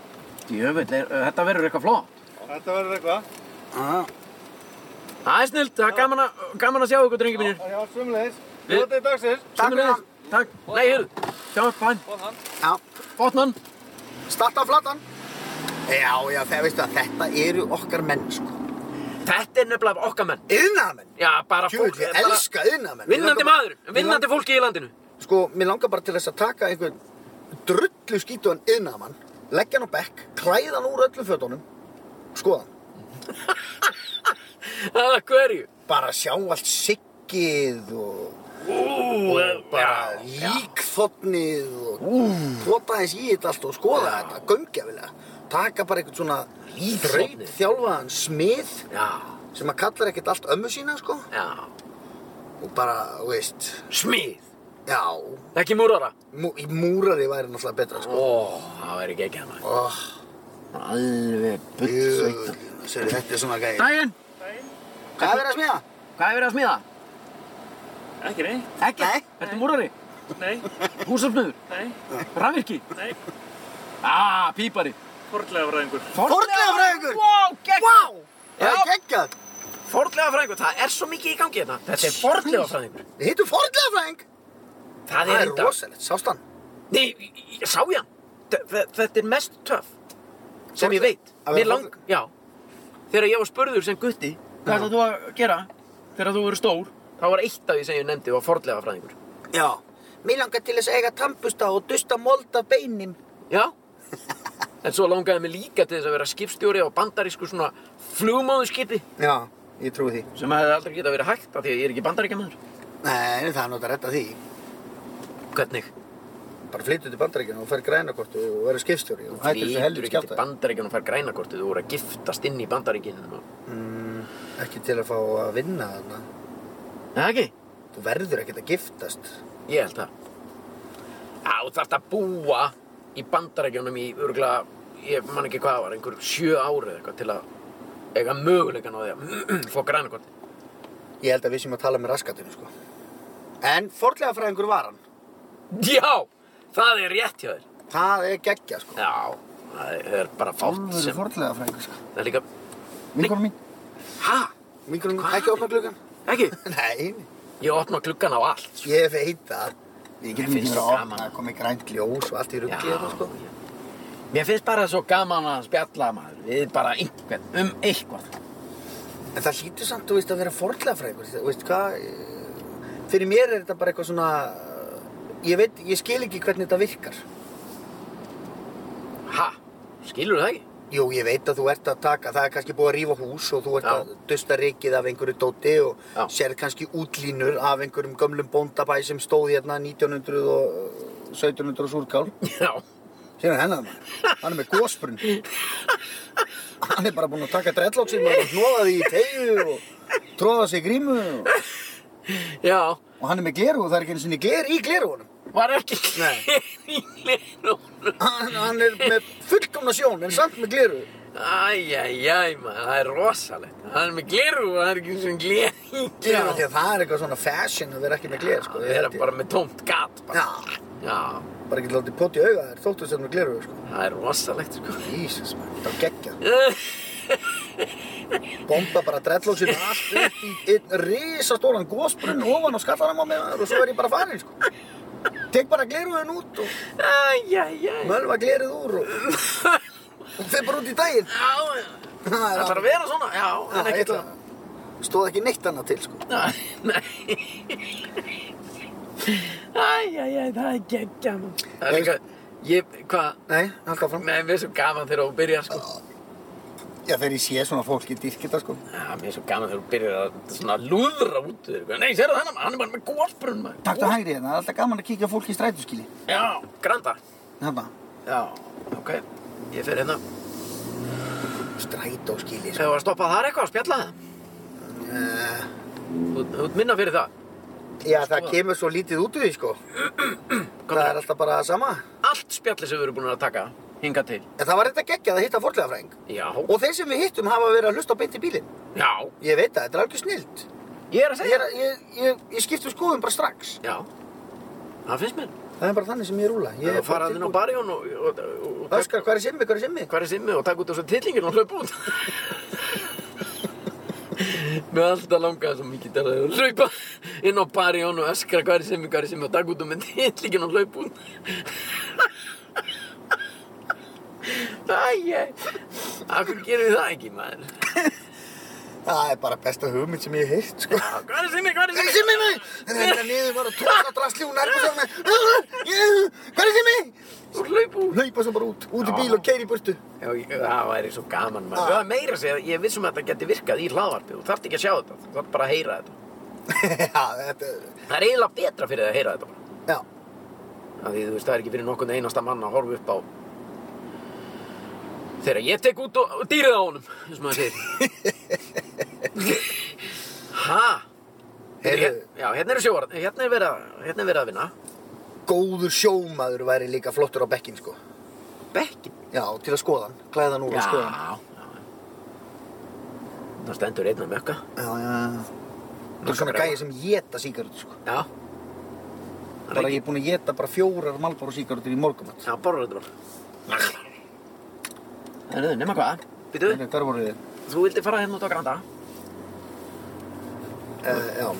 Speaker 1: Jöfull, er- uh, þetta verður eitthvað flott.
Speaker 5: Þetta verður eitthvað.
Speaker 2: Já,
Speaker 1: Það er snilt, það er gaman að, gaman að sjá ykkur, drengi mínir.
Speaker 5: Já, já, svumleis.
Speaker 1: Við-
Speaker 5: Njótið dagsins.
Speaker 2: Takk fyrir það.
Speaker 1: Takk. Nei, heyrðu. sjá upp hann,
Speaker 6: Bóð hann.
Speaker 2: Já,
Speaker 1: botnan.
Speaker 2: starta á flatan. Já, já, það veistu að þetta eru okkar menn, sko.
Speaker 1: Þetta er nefnilega okkar menn.
Speaker 2: Yðnaðamenn.
Speaker 1: Já, bara
Speaker 2: Jú,
Speaker 1: fólk.
Speaker 2: ég
Speaker 1: bara
Speaker 2: elska yðnaðamenn.
Speaker 1: Vinnandi maður, vinnandi fólki í landinu.
Speaker 2: Sko, mér langar bara til þess að taka einhvern drullu skítuðan yðnaðamann, leggja hann á bekk, klæða hann úr öllum fötunum, skoða hann.
Speaker 1: Það hverju?
Speaker 2: Bara sjá allt siggið og
Speaker 1: Ú,
Speaker 2: og bara líkþotnið og tóta eins í þetta allt og skoða þetta, gömgjafilega taka bara einhvern svona
Speaker 1: Líkþotnið.
Speaker 2: þjálfaðan smið
Speaker 1: Já,
Speaker 2: sem að kallar ekkert allt ömmu sína sko
Speaker 1: já.
Speaker 2: og bara, þú veist,
Speaker 1: Smíð,
Speaker 2: já
Speaker 1: ekki múrara.
Speaker 2: mú, í múrari væri náttúrulega betra sko
Speaker 1: Ó, það er ekki ekki hann.
Speaker 2: oh,
Speaker 1: Alveg
Speaker 2: jú, sér, þetta er svona gæði
Speaker 1: Dæin,
Speaker 2: hvað er verið að smíða?
Speaker 1: hvað er verið að smíða?
Speaker 5: Ekki neitt.
Speaker 1: Ekki.
Speaker 2: Nei.
Speaker 1: Ertu múrari?
Speaker 5: Nei,
Speaker 1: Húsöfnöður?
Speaker 5: nei,
Speaker 1: Rafvirki?
Speaker 5: nei.
Speaker 1: Ah, pípari.
Speaker 5: Forglega fræðingur.
Speaker 2: Fornleifafræðingur!
Speaker 1: Wow, gegn.
Speaker 2: Vá!
Speaker 1: Já.
Speaker 2: Það er geggjað!
Speaker 1: Fornlega fræðingur, það er svo mikið í gangi hérna. Þetta er fornlega fræðingur.
Speaker 2: Við hittum fornleifafræðing!
Speaker 1: Það
Speaker 2: Það
Speaker 1: er
Speaker 2: er
Speaker 1: enda.
Speaker 2: rosalegt, sást hann?
Speaker 1: Nei, ég, ég sá ég hann. Þe- þe- Þetta er mest töff sem ég
Speaker 2: Fornlega-
Speaker 1: veit.
Speaker 2: að vera
Speaker 1: Mér lang, já. Þegar ég var spurður sem gutti, hvað ætlað þú að gera þegar þú eru stór? Það var eitt af því sem ég nefndi var fornlega fræðingur.
Speaker 2: Já. Mér langar til þess að eiga tampusta og dusta mold af beinum.
Speaker 1: Já. En svo langaði mig líka til þess að vera skipstjóri á bandarísku svona flugmáðuskipi
Speaker 2: Já, ég trúi því.
Speaker 1: sem hefði aldrei geta verið hægt af því að ég er ekki bandaríkjamaður.
Speaker 2: Nei, það er náttúrulega að retta því.
Speaker 1: Hvernig?
Speaker 2: Bara flyttu til bandaríkjana og fer grænakortu og verður skipstjóri og hættir þessu
Speaker 1: Flýtur
Speaker 2: heldur
Speaker 1: ekki til
Speaker 2: skjálta.
Speaker 1: bandaríkjan og fær grænakortið og voru að giftast inn í bandaríkinu.
Speaker 2: Ekki til að fá að vinna þarna.
Speaker 1: Nei, ekki?
Speaker 2: Þú verður ekkert að giftast.
Speaker 1: Ég held það. Já, þú þarft að búa í bandarækjunum í örgulega, ég man ekki hvað það var, einhver sjö ári eða eitthvað til að eiga möguleikan á því að fá grænakorti.
Speaker 2: Ég held að við séum að tala með raskatinu, sko. En fornlega fræðingur var hann.
Speaker 1: Já, það er rétt hjá þér.
Speaker 2: Það er geggja, sko.
Speaker 1: Já, það er- það er bara fátt
Speaker 2: Alvöru
Speaker 1: sem,
Speaker 2: fornlega fræðingur, sko.
Speaker 1: það er líka,
Speaker 2: Vinkonum mín.
Speaker 1: ha,
Speaker 2: Vinkonum mín.
Speaker 1: Hvað?
Speaker 2: Ekki opna gluggan.
Speaker 1: ekki?
Speaker 2: Nei,
Speaker 1: Ég opna gluggan á allt.
Speaker 2: ég veit það. Við getum
Speaker 1: finnst
Speaker 2: ekki verið
Speaker 1: svo
Speaker 2: að
Speaker 1: gaman.
Speaker 2: opna, það komið grænt ljós og allt í
Speaker 1: Já,
Speaker 2: ruggi þetta, sko.
Speaker 1: já. hérna, Mér finnst bara svo gaman að spjalla maður, við bara einhvern, um eitthvað.
Speaker 2: En það hlýtur samt, þú veist, að vera fornlega frægur, þú veist, hvað, eh, fyrir mér er þetta bara eitthvað svona, eh, ég veit, ég skil ekki hvernig þetta virkar.
Speaker 1: Ha, skilur það ekki?
Speaker 2: Jú, ég veit að þú ert að taka, það er kannski búið að rífa hús og þú ert
Speaker 1: Já.
Speaker 2: að dusta rikið af einhverju dóti og
Speaker 1: Já.
Speaker 2: sérð kannski útlínur af einhverjum gömlum bóndabæ sem stóð hérna 1900 og eh, 1700 og súrkál.
Speaker 1: Já.
Speaker 2: Sér er hennar maður, hann er með gósbrunn. Hann er bara búinn að taka dreadlocksinn og hnoða því í tegju og tróða sig í grímu og...
Speaker 1: Já,
Speaker 2: Og hann er með gleru og það er ekki einu sinni gler í gleru honum.
Speaker 1: var ekki
Speaker 2: Nei.
Speaker 1: í línunum.
Speaker 2: Hann, hann er með fullkomna sjón en samt með gleru.
Speaker 1: Æjæjæj maður, það er rosalegt. Það er með gleru og það er ekki svona gler í
Speaker 2: Já,
Speaker 1: gleru.
Speaker 2: því að það er eitthvað svona fashion að vera ekki með gler, sko.
Speaker 1: Það
Speaker 2: Ég
Speaker 1: er
Speaker 2: held ég.
Speaker 1: bara með tómt gat bara.
Speaker 2: Já,
Speaker 1: Já,
Speaker 2: bara ekki látið pott í auga þér þóttu þess að með gleru, sko.
Speaker 1: það er rosalegt sko.
Speaker 2: Ísus, maður, þetta var geggjað. Bomba bara dreadlóksinn allt upp í einn risastóran gósbrunn ofan á skallanum á mig maður, og svo er ég bara farin, sko. Tek bara gleruðin út og
Speaker 1: Æjæjæj.
Speaker 2: mölva gleruð úr og... og fer bara út í daginn.
Speaker 1: Já,
Speaker 2: Það
Speaker 1: það þarf að vera svona. Já, en
Speaker 2: Ég
Speaker 1: ekki
Speaker 2: ætla
Speaker 1: það.
Speaker 2: Stóð ekki neitt annað til, sko.
Speaker 1: Nei. Æjæjæj, það er geggja maður. Það er líka, ég, hvað,
Speaker 2: Nei, haldt áfram.
Speaker 1: nei, mér er svo gaman þegar þú byrjar sko.
Speaker 2: Já, þegar ég sé svona fólk, ég dýrk þetta sko.
Speaker 1: Já, mér er svo gaman þegar þú byrjar að svona lúðra út við þér. Nei, sérðu þennan, hann er bara með gósbrunn maður.
Speaker 2: Taktu hægri hérna, það er alltaf gaman að kíkja á fólk í strætóskili.
Speaker 1: Já, granda.
Speaker 2: Hérna.
Speaker 1: Já, ok. Ég fer hérna.
Speaker 2: Strætóskili, sko.
Speaker 1: Þegar var að stoppa þar eitthvað að spjalla það.
Speaker 2: Uh,
Speaker 1: Þú þú ert minna fyrir það.
Speaker 2: já, það kemur svo lítið út úr því, sko. það er alltaf bara það sama.
Speaker 1: Allt spjalli sem við erum búin að taka hingað til.
Speaker 2: En það var þetta geggjað að hitta forlega fræðing.
Speaker 1: Já,
Speaker 2: Og þeir sem við hittum hafa verið að hlusta á beint í bílinn.
Speaker 1: já.
Speaker 2: Ég veit það, þetta er algjör snild.
Speaker 1: Ég er að
Speaker 2: Ég,
Speaker 1: segja.
Speaker 2: er að- ég, ég, ég skiptu skoðum bara strax.
Speaker 1: Já. Það finnst mér.
Speaker 2: Það er bara þannig sem ég rúla. Ég
Speaker 1: Ég
Speaker 2: er
Speaker 1: að fara inn á barjón og, og, og, og
Speaker 2: Öskar, hvað er simmi, hvað er simmi?
Speaker 1: hvað er simmi og taka út þessu tillingin og hlaupa út. Mér var alltaf langað svo mikið til að hlaupa inn á bari og öskra hvað er sem, hvað er sem og taka út og myndi ég ætla ekki að hlaupa út. Æj, akkur gerum við það ekki, maður?
Speaker 2: Það er bara besta hugmynd sem ég heilt, sko.
Speaker 1: Já, Hvað er sem, hvað er
Speaker 2: Hvað er
Speaker 1: sem?
Speaker 2: Simmi mig? Þetta niður var að tóka drasli og nærpa sér með. Hvað er Simmi?
Speaker 1: Og hlaupa út.
Speaker 2: Hlaupa svo bara út, út í bíl og keiri í burtu.
Speaker 1: Já, ég- það væri svo gaman,
Speaker 2: Ah.
Speaker 1: maður. Það er meira að segja, ég er vissum að þetta geti virkað í hlaðvarpið. Þú þarft ekki að sjá þetta, þú þarft bara að heyra þetta.
Speaker 2: Já, þetta er...
Speaker 1: Það er eiginlega betra fyrir þig að heyra þetta bara.
Speaker 2: Já.
Speaker 1: Af Því þú veist, það er ekki fyrir nokkurn einasta mann að horfa upp á þegar ég tek út og og dýrið á honum, eins og maður segir. ha?
Speaker 2: Heyrðu.
Speaker 1: Já, hérna eru sjóar, hérna er verið að, hérna er verið að vinna.
Speaker 2: Góður sjómaður væri líka flottur á bekkin, sko.
Speaker 1: Bekkin.
Speaker 2: Já, til að skoða hann. Klæða hann úr
Speaker 1: Já,
Speaker 2: og skoða hann.
Speaker 1: já. Það stendur einn að mökka.
Speaker 2: Já, já, já. Það er svona gæði sem geta síkarut, sko.
Speaker 1: Já.
Speaker 2: Bara ég er búinn að geta bara fjórar Marlboro síkarutur í morgumat.
Speaker 1: Já, borður þetta bara. Herðu, nema hvað? Býtu,
Speaker 2: Þannig, hvar voru þið?
Speaker 1: þú vildi fara hérna út á Granda. Eh,
Speaker 2: Uh, já.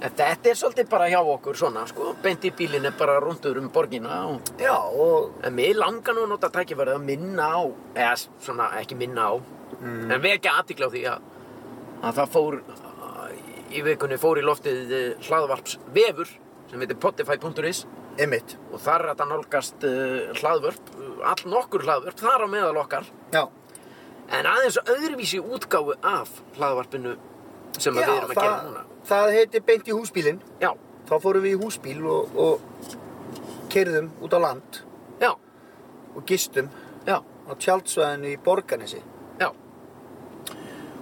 Speaker 1: En Þetta er svolítið bara hjá okkur svona, sko. Beint í bílinn er bara rundur um borgina og...
Speaker 2: Já, og...
Speaker 1: En mig langar nú að nota tækifærið að minna á, eða s- svona ekki minna á, en vekja aðtikla á því að, að það fór, að- í vikunni fór í loftið hlaðvarps vefur sem heitir potify.is
Speaker 2: Emmitt.
Speaker 1: og þar er þetta nálgast uh, hlaðvörp, all nokkur hlaðvörp, þar á meðal okkar,
Speaker 2: Já.
Speaker 1: en aðeins öðruvísi útgáfu af hlaðvarpinu sem að við erum að gera núna.
Speaker 2: það heiti beint í húsbílinn.
Speaker 1: Já,
Speaker 2: Þá fórum við í húsbíl og, og keirðum út á land
Speaker 1: já,
Speaker 2: og gistum
Speaker 1: já,
Speaker 2: á tjaldsvæðinu í Borganesi.
Speaker 1: já.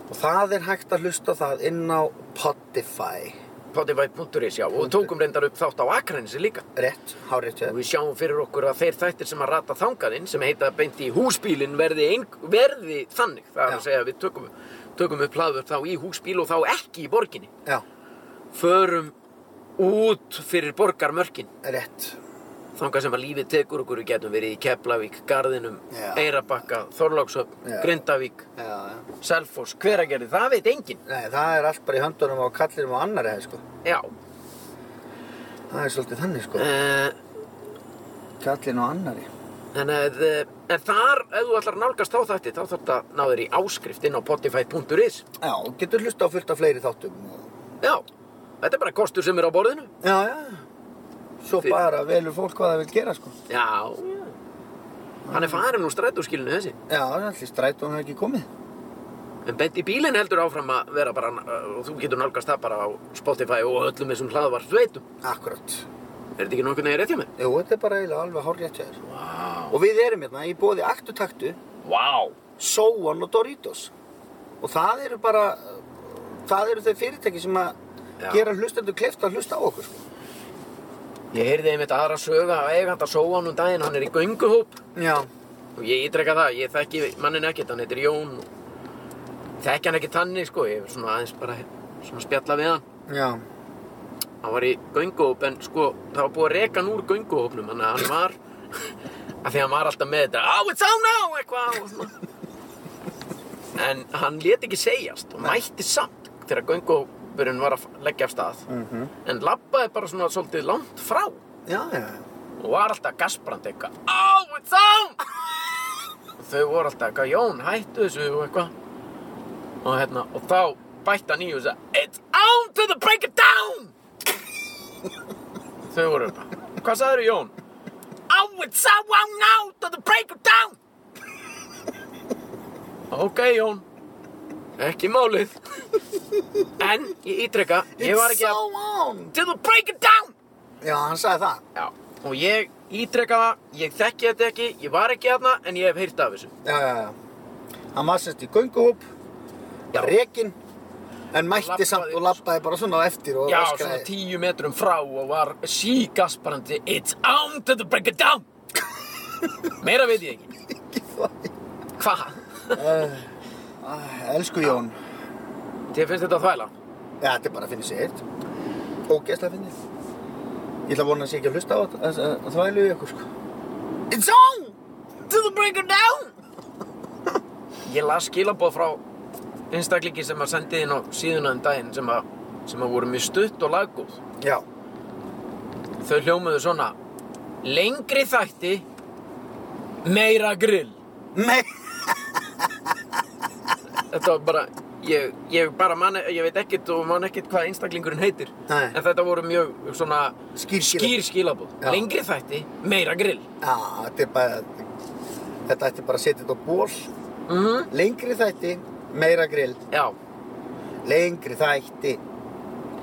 Speaker 2: Og það er hægt að hlusta á það inn á Spotify.
Speaker 1: Spotify.is, já, og tókum reyndar upp þátt á Akranesi líka.
Speaker 2: Rétt, hárétt
Speaker 1: Og
Speaker 2: hér.
Speaker 1: við sjáum fyrir okkur að þeir þættir sem að rata þangaðinn, sem heita beint í húsbílinn, verði, ein, verði þannig. Það er
Speaker 2: Já.
Speaker 1: að segja að við tökum, tökum upp hlaður þá í húsbíl og þá ekki í borginni.
Speaker 2: Já,
Speaker 1: Förum út fyrir borgarmörkin,
Speaker 2: rétt.
Speaker 1: þangað sem að lífið tekur okkur. Við getum verið í Keflavík, Garðinum,
Speaker 2: Já.
Speaker 1: Eyrarbakka, Þorlákshöfn,
Speaker 2: Já.
Speaker 1: Grindavík,
Speaker 2: Já, já.
Speaker 1: Selfoss, Hveragerði, það veit enginn.
Speaker 2: Nei, það er allt bara í höndunum á kallinum og annar eða, sko.
Speaker 1: Já,
Speaker 2: Það er svolítið þannig, sko.
Speaker 1: uh,
Speaker 2: Kallinn og annari.
Speaker 1: En, eh, en þar, ef þú ætlar að nálgast þá þætti, þá þarf þetta ná þér í áskrift inn á potify.is.
Speaker 2: Já, og getur hlusta á fullt af fleiri þáttum. og-
Speaker 1: Já, þetta er bara kostur sem er á borðinu.
Speaker 2: Já, já. Svo
Speaker 1: Fyrir-
Speaker 2: bara velur fólk hvað það vil gera, sko.
Speaker 1: Já, hann er farin úr strætóskilinu þessi.
Speaker 2: Já, allir strætónum hefur ekki komið.
Speaker 1: En beint í bílinn heldur áfram að vera bara, og þú getur nálgast það bara á Spotify og öllum þessum hlaðvarp veitum.
Speaker 2: Akkurat.
Speaker 1: Er þetta ekki nokkuð neginn rétt hjá mér?
Speaker 2: Jú, þetta er bara eiginlega alveg hárétt hjá þér.
Speaker 1: Vá.
Speaker 2: Og við erum hérna í bóði Aktutaktu,
Speaker 1: Vá.
Speaker 2: Sóan og Doritos. Og það eru bara, það eru þau fyrirtæki sem að
Speaker 1: Já.
Speaker 2: gera hlustendur kleift að hlusta á okkur, sko.
Speaker 1: Ég heyrði einmitt aðra sögu af eiganda sóan um daginn, hann er í gönguhóp
Speaker 2: Já.
Speaker 1: og ég ítreka það, ég þekki mannin ekkert, hann heitir Jón og þekki hann ekki tannig sko, ég er svona aðeins bara svona að spjalla við hann.
Speaker 2: Já.
Speaker 1: hann var í gönguhóp en sko það var búið að reka hann úr gönguhópnum þannig að hann var að því að hann var alltaf með þetta oh it's on now eitthvað og svona en hann lét ekki segjast og mætti samt þegar gönguhópurinn var að leggja af stað en labbaði bara svona svolítið langt frá
Speaker 2: Já, já.
Speaker 1: og var alltaf gasbrand eitthvað oh it's on og þau voru alltaf eitthvað Jón hættu þessu og eitthvað og hérna og þá bætti hann í og sagði it's on to the break it down Þau voru bara, hvað sagður Jón? Oh, it's so on now to the break of down Ok, Jón Ekki málið En, ég ítreka Ég var ekki að
Speaker 2: on.
Speaker 1: To the break of down
Speaker 2: Já, hann sagði það.
Speaker 1: Já, og ég ítreka það Ég þekki þetta ekki, ég var ekki þarna En ég hef heyrt af þessu
Speaker 2: Já, já, já. Hann var semst í gönguhóp,
Speaker 1: Já.
Speaker 2: rekin, en mætti
Speaker 1: Labbaði-
Speaker 2: samt og lappaði bara svona á eftir og
Speaker 1: Já,
Speaker 2: öskraði.
Speaker 1: svona tíu metrum frá og var sígasparandi It's on to the break of down Meira veit ég ekki Hvað?
Speaker 2: Æ, Eh, ah, Elsku Jón.
Speaker 1: Þér finnst þetta þvæla?
Speaker 2: Já, þetta er bara að finna sér eitt. Ógeðslega að finna sér. Ég ætla að vona að sé ekki að hlusta á þetta, að- að- að þvælu í okkur, sko. It's on!
Speaker 1: to the break of down Ég las skilabóð frá einstaklingi sem að sendi inn á síðuna um daginn sem að, sem að voru mjög stutt og laggóð.
Speaker 2: Já.
Speaker 1: Þau hljómuðu svona Lengri þætti Meira grill
Speaker 2: Nei.
Speaker 1: Þetta var bara Ég, ég bara man, ég veit ekkert og man ekkert hvað einstaklingurinn heitir
Speaker 2: Nei.
Speaker 1: En þetta voru mjög svona
Speaker 2: Skýr skilaboð.
Speaker 1: skýr skilaboð
Speaker 2: Já.
Speaker 1: Lengri þætti, meira grill
Speaker 2: Já, þetta er bara, þetta ætti bara að setja þetta á ból.
Speaker 1: mm
Speaker 2: Lengri þætti, meira grill.
Speaker 1: Já,
Speaker 2: Lengri þætti,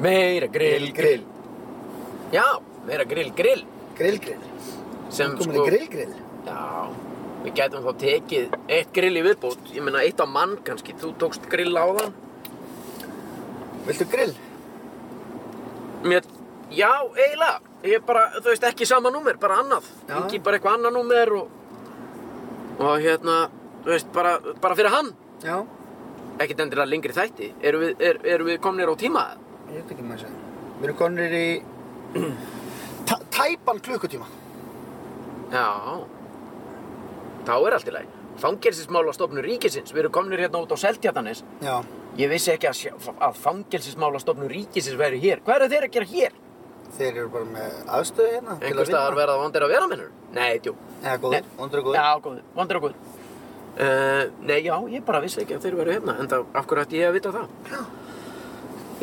Speaker 1: meira grill,
Speaker 2: grill, grill.
Speaker 1: Já, meira grill, grill
Speaker 2: Grill, grill.
Speaker 1: Sem sko-
Speaker 2: Komin í grill, grill.
Speaker 1: Já, við gætum þá tekið eitt grill í viðbót, ég meina eitt á mann kannski, þú tókst grill á þann.
Speaker 2: Viltu grill?
Speaker 1: Mér, já, eiginlega, ég bara, þú veist, ekki sama númer, bara annað.
Speaker 2: Já.
Speaker 1: Ekki bara eitthvað annað númer og, og hérna, þú veist, bara, bara fyrir hann.
Speaker 2: Já.
Speaker 1: Ekkert endilega lengri þætti, erum við, er, erum við komnir á tíma?
Speaker 2: Ég veit ekki maður að segja. Við erum konir í tæ- tæpan klukkutíma.
Speaker 1: Já, þá er allt í lagi. Fangelsismálastofnun ríkisins, við erum komnir hérna út á Seltjarnanes.
Speaker 2: Já.
Speaker 1: Ég vissi ekki að, sjá- að fangelsismálastofnun ríkisins væri hér. Hvað eru þeir að gera hér?
Speaker 2: Þeir eru bara með aðstöðu hérna. til að
Speaker 1: einhver staðar
Speaker 2: vinna.
Speaker 1: verða vondir að vera minnur? Nei, djú.
Speaker 2: Eða góður,
Speaker 1: Nei.
Speaker 2: vondur og góður.
Speaker 1: Já, góður. Vondir og góður. Uh, nei, já, ég bara vissi ekki að þeir eru hérna, en það, af hverju ætti ég að vita það? Já.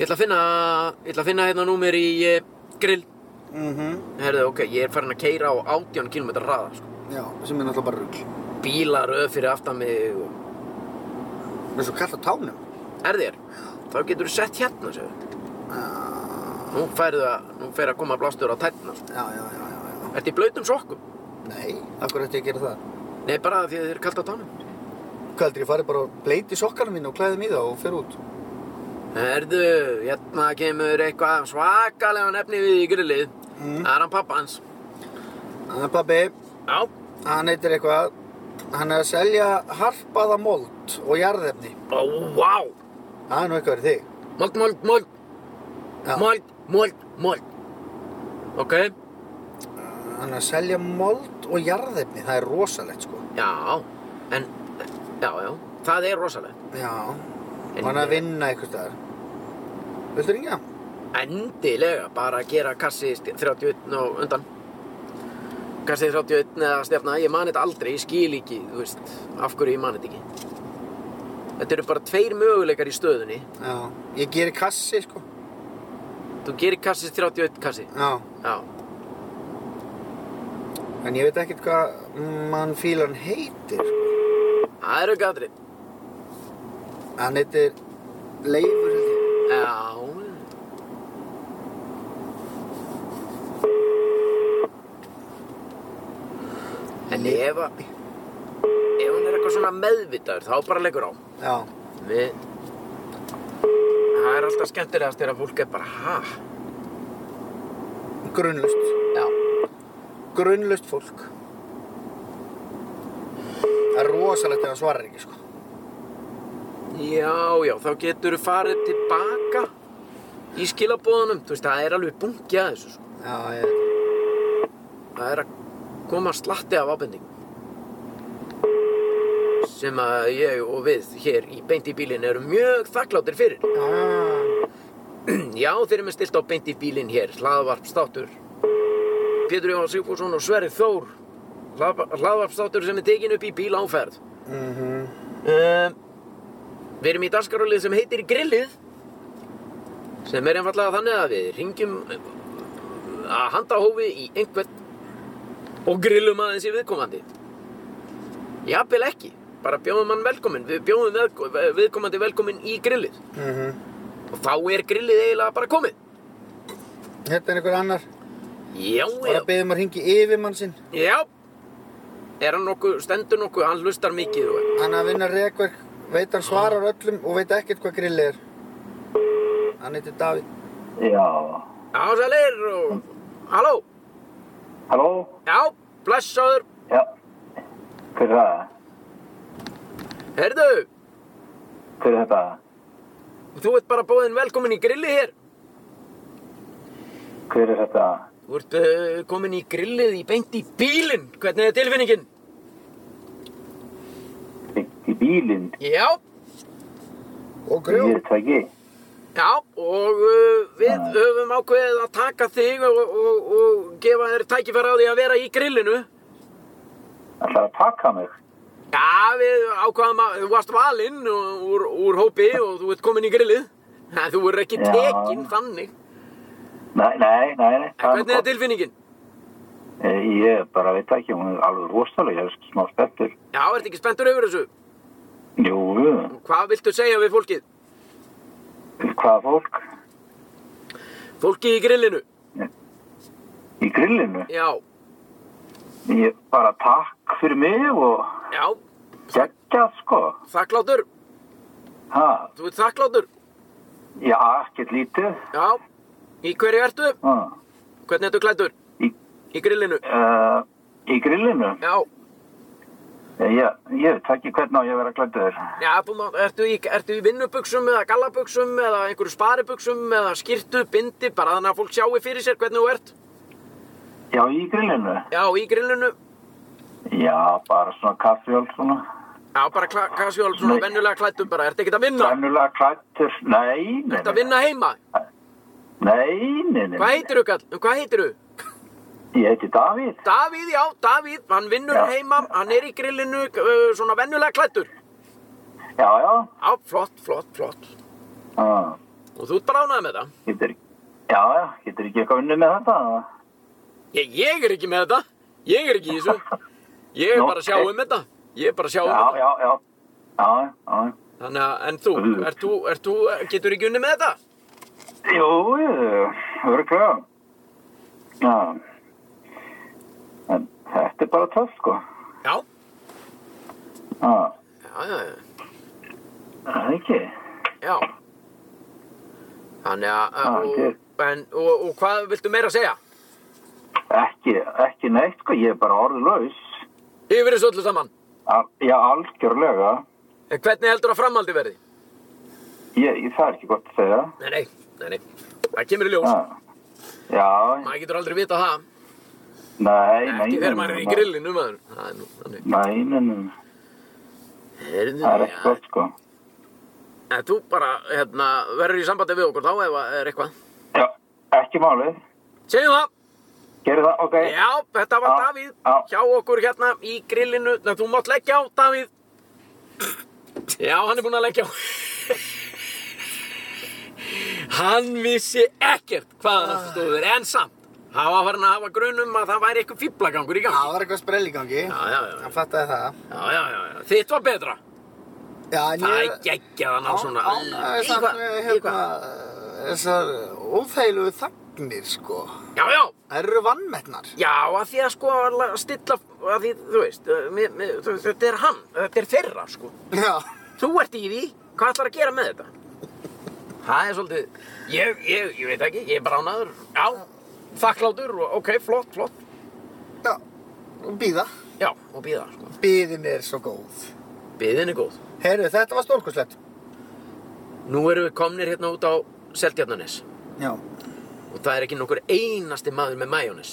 Speaker 1: Ég ætla að finna, ég ætla að finna hérna númer í eh, grill.
Speaker 2: Mhm.
Speaker 1: Herðu, ok, ég er farin að keira á 18 km hraða, sko.
Speaker 2: Já, sem er náttúrulega bara rugg.
Speaker 1: Bílar öð fyrir aftan mig og...
Speaker 2: Mér er svo kallt á tánum.
Speaker 1: Er þér? Þá getur þú sett hérna, segðu. Nú færðu að, nú fer að koma blástur á tætna.
Speaker 2: Ah, Já, já, já, já, já.
Speaker 1: Ertu í blautum sokkum?
Speaker 2: Nei, af hverju ætti ég að gera það?
Speaker 1: Nei, bara því að þið eru kalt á tánum.
Speaker 2: Hvað heldur ég farið bara og bleiti sokkanum mín og klæði mig í það og fer út?
Speaker 1: Herðu, hérna kemur eitthvað svakalega nefni við í grillið.
Speaker 2: Mm.
Speaker 1: Það er hann pappa hans.
Speaker 2: Þannig að Ah, pabbi,
Speaker 1: Já.
Speaker 2: hann heitir eitthvað, hann er að selja harpaða mold og jarðefni.
Speaker 1: Ó, vá.
Speaker 2: Það er nú eitthvað verið þig.
Speaker 1: Mold, mold, mold.
Speaker 2: Já.
Speaker 1: Mold, mold, mold. Ok.
Speaker 2: Hann er að selja mold og jarðefni, það er rosalegt sko.
Speaker 1: Já. En, já, já. Það er rosalegt.
Speaker 2: Já, og hann er að vinna eitthvað staðar. Viltu ringja?
Speaker 1: Endilega bara að gera kassi st- 31 og undan. Kassi 31 eða stefna. Ég man þetta aldrei. Ég skil ekki, þú veist, af hverju ég man þetta ekki. Þetta eru bara tveir möguleikar í stöðunni.
Speaker 2: Já. Ég geri kassi sko.
Speaker 1: Þú gerir kassi 31 kassi.
Speaker 2: Já.
Speaker 1: Já.
Speaker 2: En ég veit ekkert hvað mann fílan heitir sko.
Speaker 1: Það eru gadri.
Speaker 2: Hann heitir Leifur held ég.
Speaker 1: Já. En ef að... Ef hann er eitthvað svona meðvitaður, þá bara leggur á.
Speaker 2: Já.
Speaker 1: Við... Það er alltaf skemmtilegast þegar fólk er bara, ha?
Speaker 2: Grunnlust.
Speaker 1: Já.
Speaker 2: grunnlaust fólk það er rosalegt ef hann svarar ekki sko
Speaker 1: Já, já, þá getur þú farið tilbaka í skilabóðunum. Þú veist, það er alveg bungi að þessu, sko.
Speaker 2: já, ég,
Speaker 1: Það er að koma slatti af ábendingum. Sem að ég og við hér í beint í bílinn erum mjög þakkláttir fyrir.
Speaker 2: já,
Speaker 1: Já, þeir eru með stilt á beint í bílinn hér, hlaðvarpstáttur. Pétur Jóhann Sigfússon og Sverri Þór, hlaðva- hlaðvarpstáttur sem er tekin upp í bíl áferð.
Speaker 2: mhm,
Speaker 1: Um, við erum í dagskarólið sem heitir Grillið, sem er einfallega þannig að við ringjum uh, að handahófi í einhvern og grillum aðeins í viðkomandi. Jafnvel ekki, bara bjóðum hann velkominn, við bjóðum velko- viðkomandi velkominn í grillið
Speaker 2: mhm
Speaker 1: og þá er grillið eiginlega bara komið.
Speaker 2: hérna er einhver annar
Speaker 1: Já,
Speaker 2: bara
Speaker 1: já,
Speaker 2: beðum að ringi yfirmann sinn
Speaker 1: já. Er hann nokkuð, stendur nokkuð, hann hlustar mikið og
Speaker 2: hann er að vinna rekverk veit hann svarar öllum og veit ekkert hvað grill er hann heitir Davíð
Speaker 4: Já.
Speaker 1: Já, sælir og, halló,
Speaker 4: Halló?
Speaker 1: já, blessaður,
Speaker 4: Já. Hver er það?
Speaker 1: heyrðu,
Speaker 4: Hver er þetta?
Speaker 1: þú ert bara bóðin velkomin í grillið hér.
Speaker 4: Hver er þetta?
Speaker 1: Þú ert uh, komin í grillið í beint í bílinn, hvernig er tilfinningin?
Speaker 4: Í bílinn.
Speaker 1: Já,
Speaker 2: Og grjó.
Speaker 4: Ég er það ekki.
Speaker 1: Já, og uh, við höfum ákveðið að taka þig og, og, og gefa þér tækifæra á því að vera í grillinu.
Speaker 4: Ætlar að taka mig.
Speaker 1: Já, við ákvaðum að þú varst valinn og- úr, úr hópi og þú ert komin í grillið. En þú er ekki
Speaker 4: Já.
Speaker 1: tekinn þannig.
Speaker 4: Nei, nei, nei. nei.
Speaker 1: En hvernig er tilfinningin?
Speaker 4: Eh, Ég bara veit ekki, hún er alveg rosalega, ég er smá spettur.
Speaker 1: Já, ertu ekki spenntur yfir þessu?
Speaker 4: Jú,
Speaker 1: Hvað viltu segja við fólkið?
Speaker 4: hvað fólk?
Speaker 1: Fólkið í grillinu?
Speaker 4: Í grillinu?
Speaker 1: Já,
Speaker 4: Ég bara takk fyrir mig og
Speaker 1: já,
Speaker 4: geggjað sko.
Speaker 1: þakkláttur.
Speaker 4: Ha,
Speaker 1: Þú ert þakkláttur.
Speaker 4: já, ekkert lítið.
Speaker 1: Já. Í hverju ertu?
Speaker 4: Ha,
Speaker 1: Hvernig ertu klættur?
Speaker 4: Í-
Speaker 1: Í grillinu?
Speaker 4: uh, í grillinu?
Speaker 1: Já.
Speaker 4: Ég, ég veit ekki hvernig á ég að vera glættur.
Speaker 1: Já, þú má, ertu í, ertu í vinnubuxum eða gallabuxum eða einhverju sparibuxum eða skýrtu, bindi, bara þannig að fólk sjáu fyrir sér hvernig þú ert.
Speaker 4: Já, í grillinu?
Speaker 1: Já, í grillinu.
Speaker 4: Já, bara svona kaffjól svona.
Speaker 1: Já, bara kla- casual, svona
Speaker 4: Nei.
Speaker 1: vennulega klættum bara. Ertu ekkert að vinna?
Speaker 4: Vennulega glættur. Nei, nei,
Speaker 1: Ertu að
Speaker 4: nei.
Speaker 1: vinna heima?
Speaker 4: Nei, nei, nei.
Speaker 1: Hvað heitir þú, kall? Hvað heitir þú?
Speaker 4: Ég heiti Davíð.
Speaker 1: Davíð, já, Davíð, hann vinnur
Speaker 4: Já.
Speaker 1: heima, hann er í grillinu, uh, svona vennulega klættur.
Speaker 4: Já, já.
Speaker 1: Já, flott, flott, flott.
Speaker 4: Ha.
Speaker 1: Og þú ert bara ánægð með það?
Speaker 4: Getur, já, já, getur ekki eitthvað unnið með þetta? eða?
Speaker 1: Ég, ég er ekki með þetta. Ég er ekki í þessu. Ég er
Speaker 4: Nú,
Speaker 1: bara að sjá
Speaker 4: ok.
Speaker 1: um þetta. Ég er bara að sjá um
Speaker 4: Já,
Speaker 1: þetta.
Speaker 4: já, já, já, já.
Speaker 1: Þannig að, en þú,
Speaker 4: Mm.
Speaker 1: er þú, er þú, getur ekki unni með þetta?
Speaker 4: Jú, jú, örgulega. Já. En þetta er bara töff, sko.
Speaker 1: Já.
Speaker 4: Já,
Speaker 1: Já, já, já.
Speaker 4: er það ekki.
Speaker 1: já. Þannig að,
Speaker 4: Ah,
Speaker 1: og,
Speaker 4: ok.
Speaker 1: en, og, og hvað viltu meira segja?
Speaker 4: Ekki, ekki neitt, sko, ég er bara orðlaus.
Speaker 1: Yfir þessu öllu saman.
Speaker 4: Al, já, algjörlega.
Speaker 1: En hvernig heldur að framhaldi verði?
Speaker 4: Ég, ég, það er ekki gott að segja.
Speaker 1: Nei, nei, nei, nei. Það kemur í ljós.
Speaker 4: Já, já,
Speaker 1: Maður getur aldrei vita það.
Speaker 4: nei, nei.
Speaker 1: Ekki þegar maður er í
Speaker 4: nei,
Speaker 1: grillinu, maður. Það er nú, þannig.
Speaker 4: Nei, nei, nei,
Speaker 1: Heyrðu,
Speaker 4: það er ekki
Speaker 1: já.
Speaker 4: gott, sko.
Speaker 1: En þú bara, hérna, verður í sambandi við okkur þá ef það er eitthvað.
Speaker 4: Já, ekki málið.
Speaker 1: Segjum það.
Speaker 4: Gerðu það, ok.
Speaker 1: Já, þetta var
Speaker 4: Já,
Speaker 1: Davíð
Speaker 4: já.
Speaker 1: hjá okkur hérna í grillinu. Nei, þú mátt leggja á, Davíð. Já, hann er búinn að leggja á. hann vissi ekkert hvað það
Speaker 2: Ah.
Speaker 1: stóður, en samt. Hann var farin að hafa grunum að það væri eitthvað fýblagangur í
Speaker 2: Það
Speaker 1: gangi.
Speaker 2: var eitthvað sprell í gangi.
Speaker 1: Já, já, já.
Speaker 2: Hann fattaði það.
Speaker 1: Já, já, já, já. Þitt var betra.
Speaker 2: Já, en
Speaker 1: Það
Speaker 2: ég...
Speaker 1: er geggjað hann á svona...
Speaker 2: Ánægði samt með hérna þessar óþægilegu þagnir sko.
Speaker 1: Já, já.
Speaker 2: Þær eru vannmettnar.
Speaker 1: Já, að því að sko að la- stilla, að því, þú veist, eh, mér- mér- þú- þetta er hann, þetta er þeirra, sko.
Speaker 2: Já.
Speaker 1: Þú ert í því, hvað ætlar að gera með þetta? Það er svolítið, ég, ég, ég veit ekki, ég er bara ánaður, já, þakklátur og ok, flott, flott,
Speaker 2: Já. Og býða.
Speaker 1: já, og býða, sko.
Speaker 2: Býðin er svo góð.
Speaker 1: Býðin er góð.
Speaker 2: Herru, þetta var stórkurslegt.
Speaker 1: Nú erum við komnir hérna út á Seltjarnanes
Speaker 2: Já.
Speaker 1: og það er ekki nokkur einasti maður með majónis.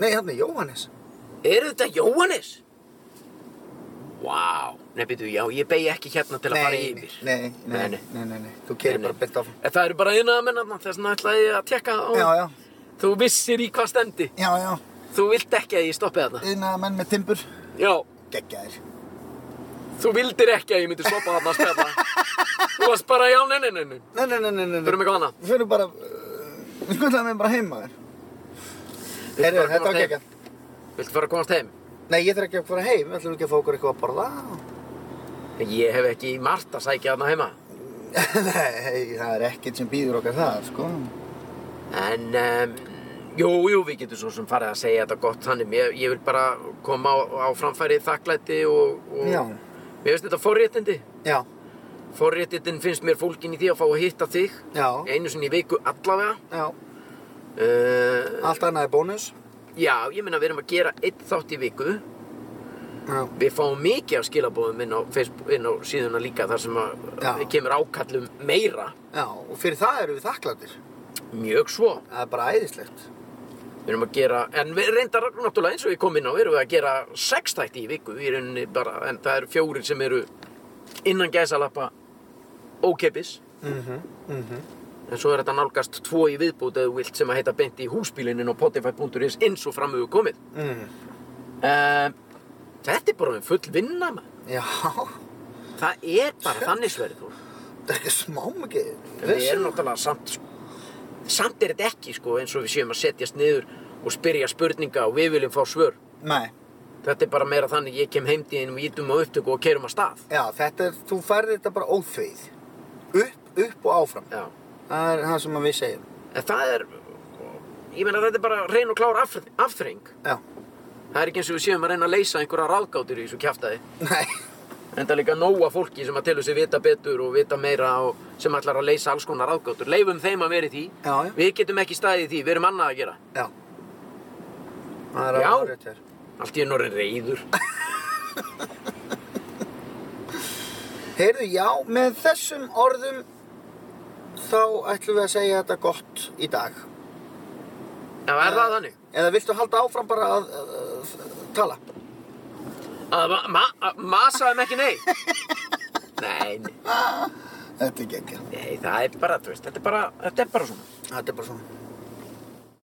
Speaker 2: Nei, hérna er Jóhannes.
Speaker 1: Er þetta Jóhannes? Vá, nei, byrju, já, ég beigi ekki hérna til að fara yfir.
Speaker 2: Nei, nei, nei, nei, nei, nei. Þú
Speaker 1: Nei,
Speaker 2: keirir
Speaker 1: nei.
Speaker 2: bara beint áfram.
Speaker 1: En það eru bara einaða mennarna, þess vegna ætlaði ég að tekka á.
Speaker 2: Já, já.
Speaker 1: Þú vissir í hvað stendi.
Speaker 2: Já, já.
Speaker 1: Þú vilt ekki að ég stoppi þarna.
Speaker 2: Yðnaða menn með timbur.
Speaker 1: Já,
Speaker 2: Geggjaðir.
Speaker 1: þú vildir ekki að ég myndi stoppa þarna að spjalla. þú varst bara, já, nei, nei, nei, nei.
Speaker 2: Nei, nei, nei, nei, nei. nei.
Speaker 1: Förum eitthvað annað.
Speaker 2: Við fyrir bara... Uh, við skuldaðum við bara heima þér. Herru, þetta var geggjað.
Speaker 1: Viltu fara að komast heim?
Speaker 2: Nei, ég þarf ekki að fara heim. Við ætlum ekki að fá okkur eitthvað að borða.
Speaker 1: Ég hef ekki í margt að sækja þarna heima.
Speaker 2: Nei, það er ekkert sem býður okkar það, sko.
Speaker 1: En, um, jú, jú, við getum svo sem farið að segja þetta gott þannig. Ég, ég vil bara koma á, á framfæri þakklæti og... og
Speaker 2: Já.
Speaker 1: Mér finnst þetta forréttindi.
Speaker 2: Já,
Speaker 1: Forréttindin finnst mér fólkin í því að fá að hitta þig.
Speaker 2: já,
Speaker 1: Einu sinni í viku allavega.
Speaker 2: já.
Speaker 1: Uh,
Speaker 2: Allt annað er bónus.
Speaker 1: já, ég meina við erum að gera einn þátt í viku.
Speaker 2: Já,
Speaker 1: Við fáum mikið af skilabóðum inn á, Facebook, inn á síðuna líka þar sem að
Speaker 2: Já.
Speaker 1: við kemur ákallum meira.
Speaker 2: já, og fyrir það eru við þakkláttir.
Speaker 1: Mjög svo.
Speaker 2: Það er bara æðislegt.
Speaker 1: Við erum að gera, en við reyndar náttúrulega eins og ég kom inn á, erum við að gera sex þætti í viku í rauninni bara, en það eru fjórir sem eru innan gæsalappa ókeppis
Speaker 2: Mhm,
Speaker 1: en svo er þetta nálgast tvo í viðbúti eða þú vilt sem að heita beint í húsbílinin og potify.is eins og framöfu komið
Speaker 2: Mm.
Speaker 1: um, þetta er bara um full vinna maður.
Speaker 2: Já,
Speaker 1: það er bara þannig sverið þú
Speaker 2: þetta er ekki smá mikið.
Speaker 1: við erum náttúrulega samt sko, samt er þetta ekki sko, eins og við séum að setjast niður og spyrja spurninga og við viljum fá svör
Speaker 2: Nei,
Speaker 1: þetta er bara meira þannig ég kem heimdíðin og ítum á upptöku og kerum að stað
Speaker 2: já, þetta er, þú færði þetta bara óþveið. Upp, upp og áfram.
Speaker 1: Já.
Speaker 2: Það er það sem að við segjum.
Speaker 1: en það er ég meina þetta er bara reyn og klár af, afþreng
Speaker 2: Já.
Speaker 1: það er ekki eins og við séum að reyna að leysa einhverja ráðgátur í þessu kjaftaði
Speaker 2: Nei.
Speaker 1: en það er líka nóga fólki sem að telur sig vita betur og vita meira og sem ætlar að leysa alls konar ráðgátur leifum þeim að vera í því
Speaker 2: Já, já.
Speaker 1: við getum ekki staðið í því, við erum annað að gera
Speaker 2: Já. Það er
Speaker 1: Já.
Speaker 2: alveg rétt hér.
Speaker 1: allt í ennur er reyður
Speaker 2: Heyrðu, já, með þessum orðum þá ætlum við að segja þetta gott í dag.
Speaker 1: Já, er það þannig?
Speaker 2: Eða viltu halda áfram bara að uh, tala?
Speaker 1: Að ma ma að masaðum ekki nei? nei, nei,
Speaker 2: Þetta er ekki ekki.
Speaker 1: nei, það er bara, þú veist, þetta er bara, þetta er bara svona.
Speaker 2: Þetta er bara svona.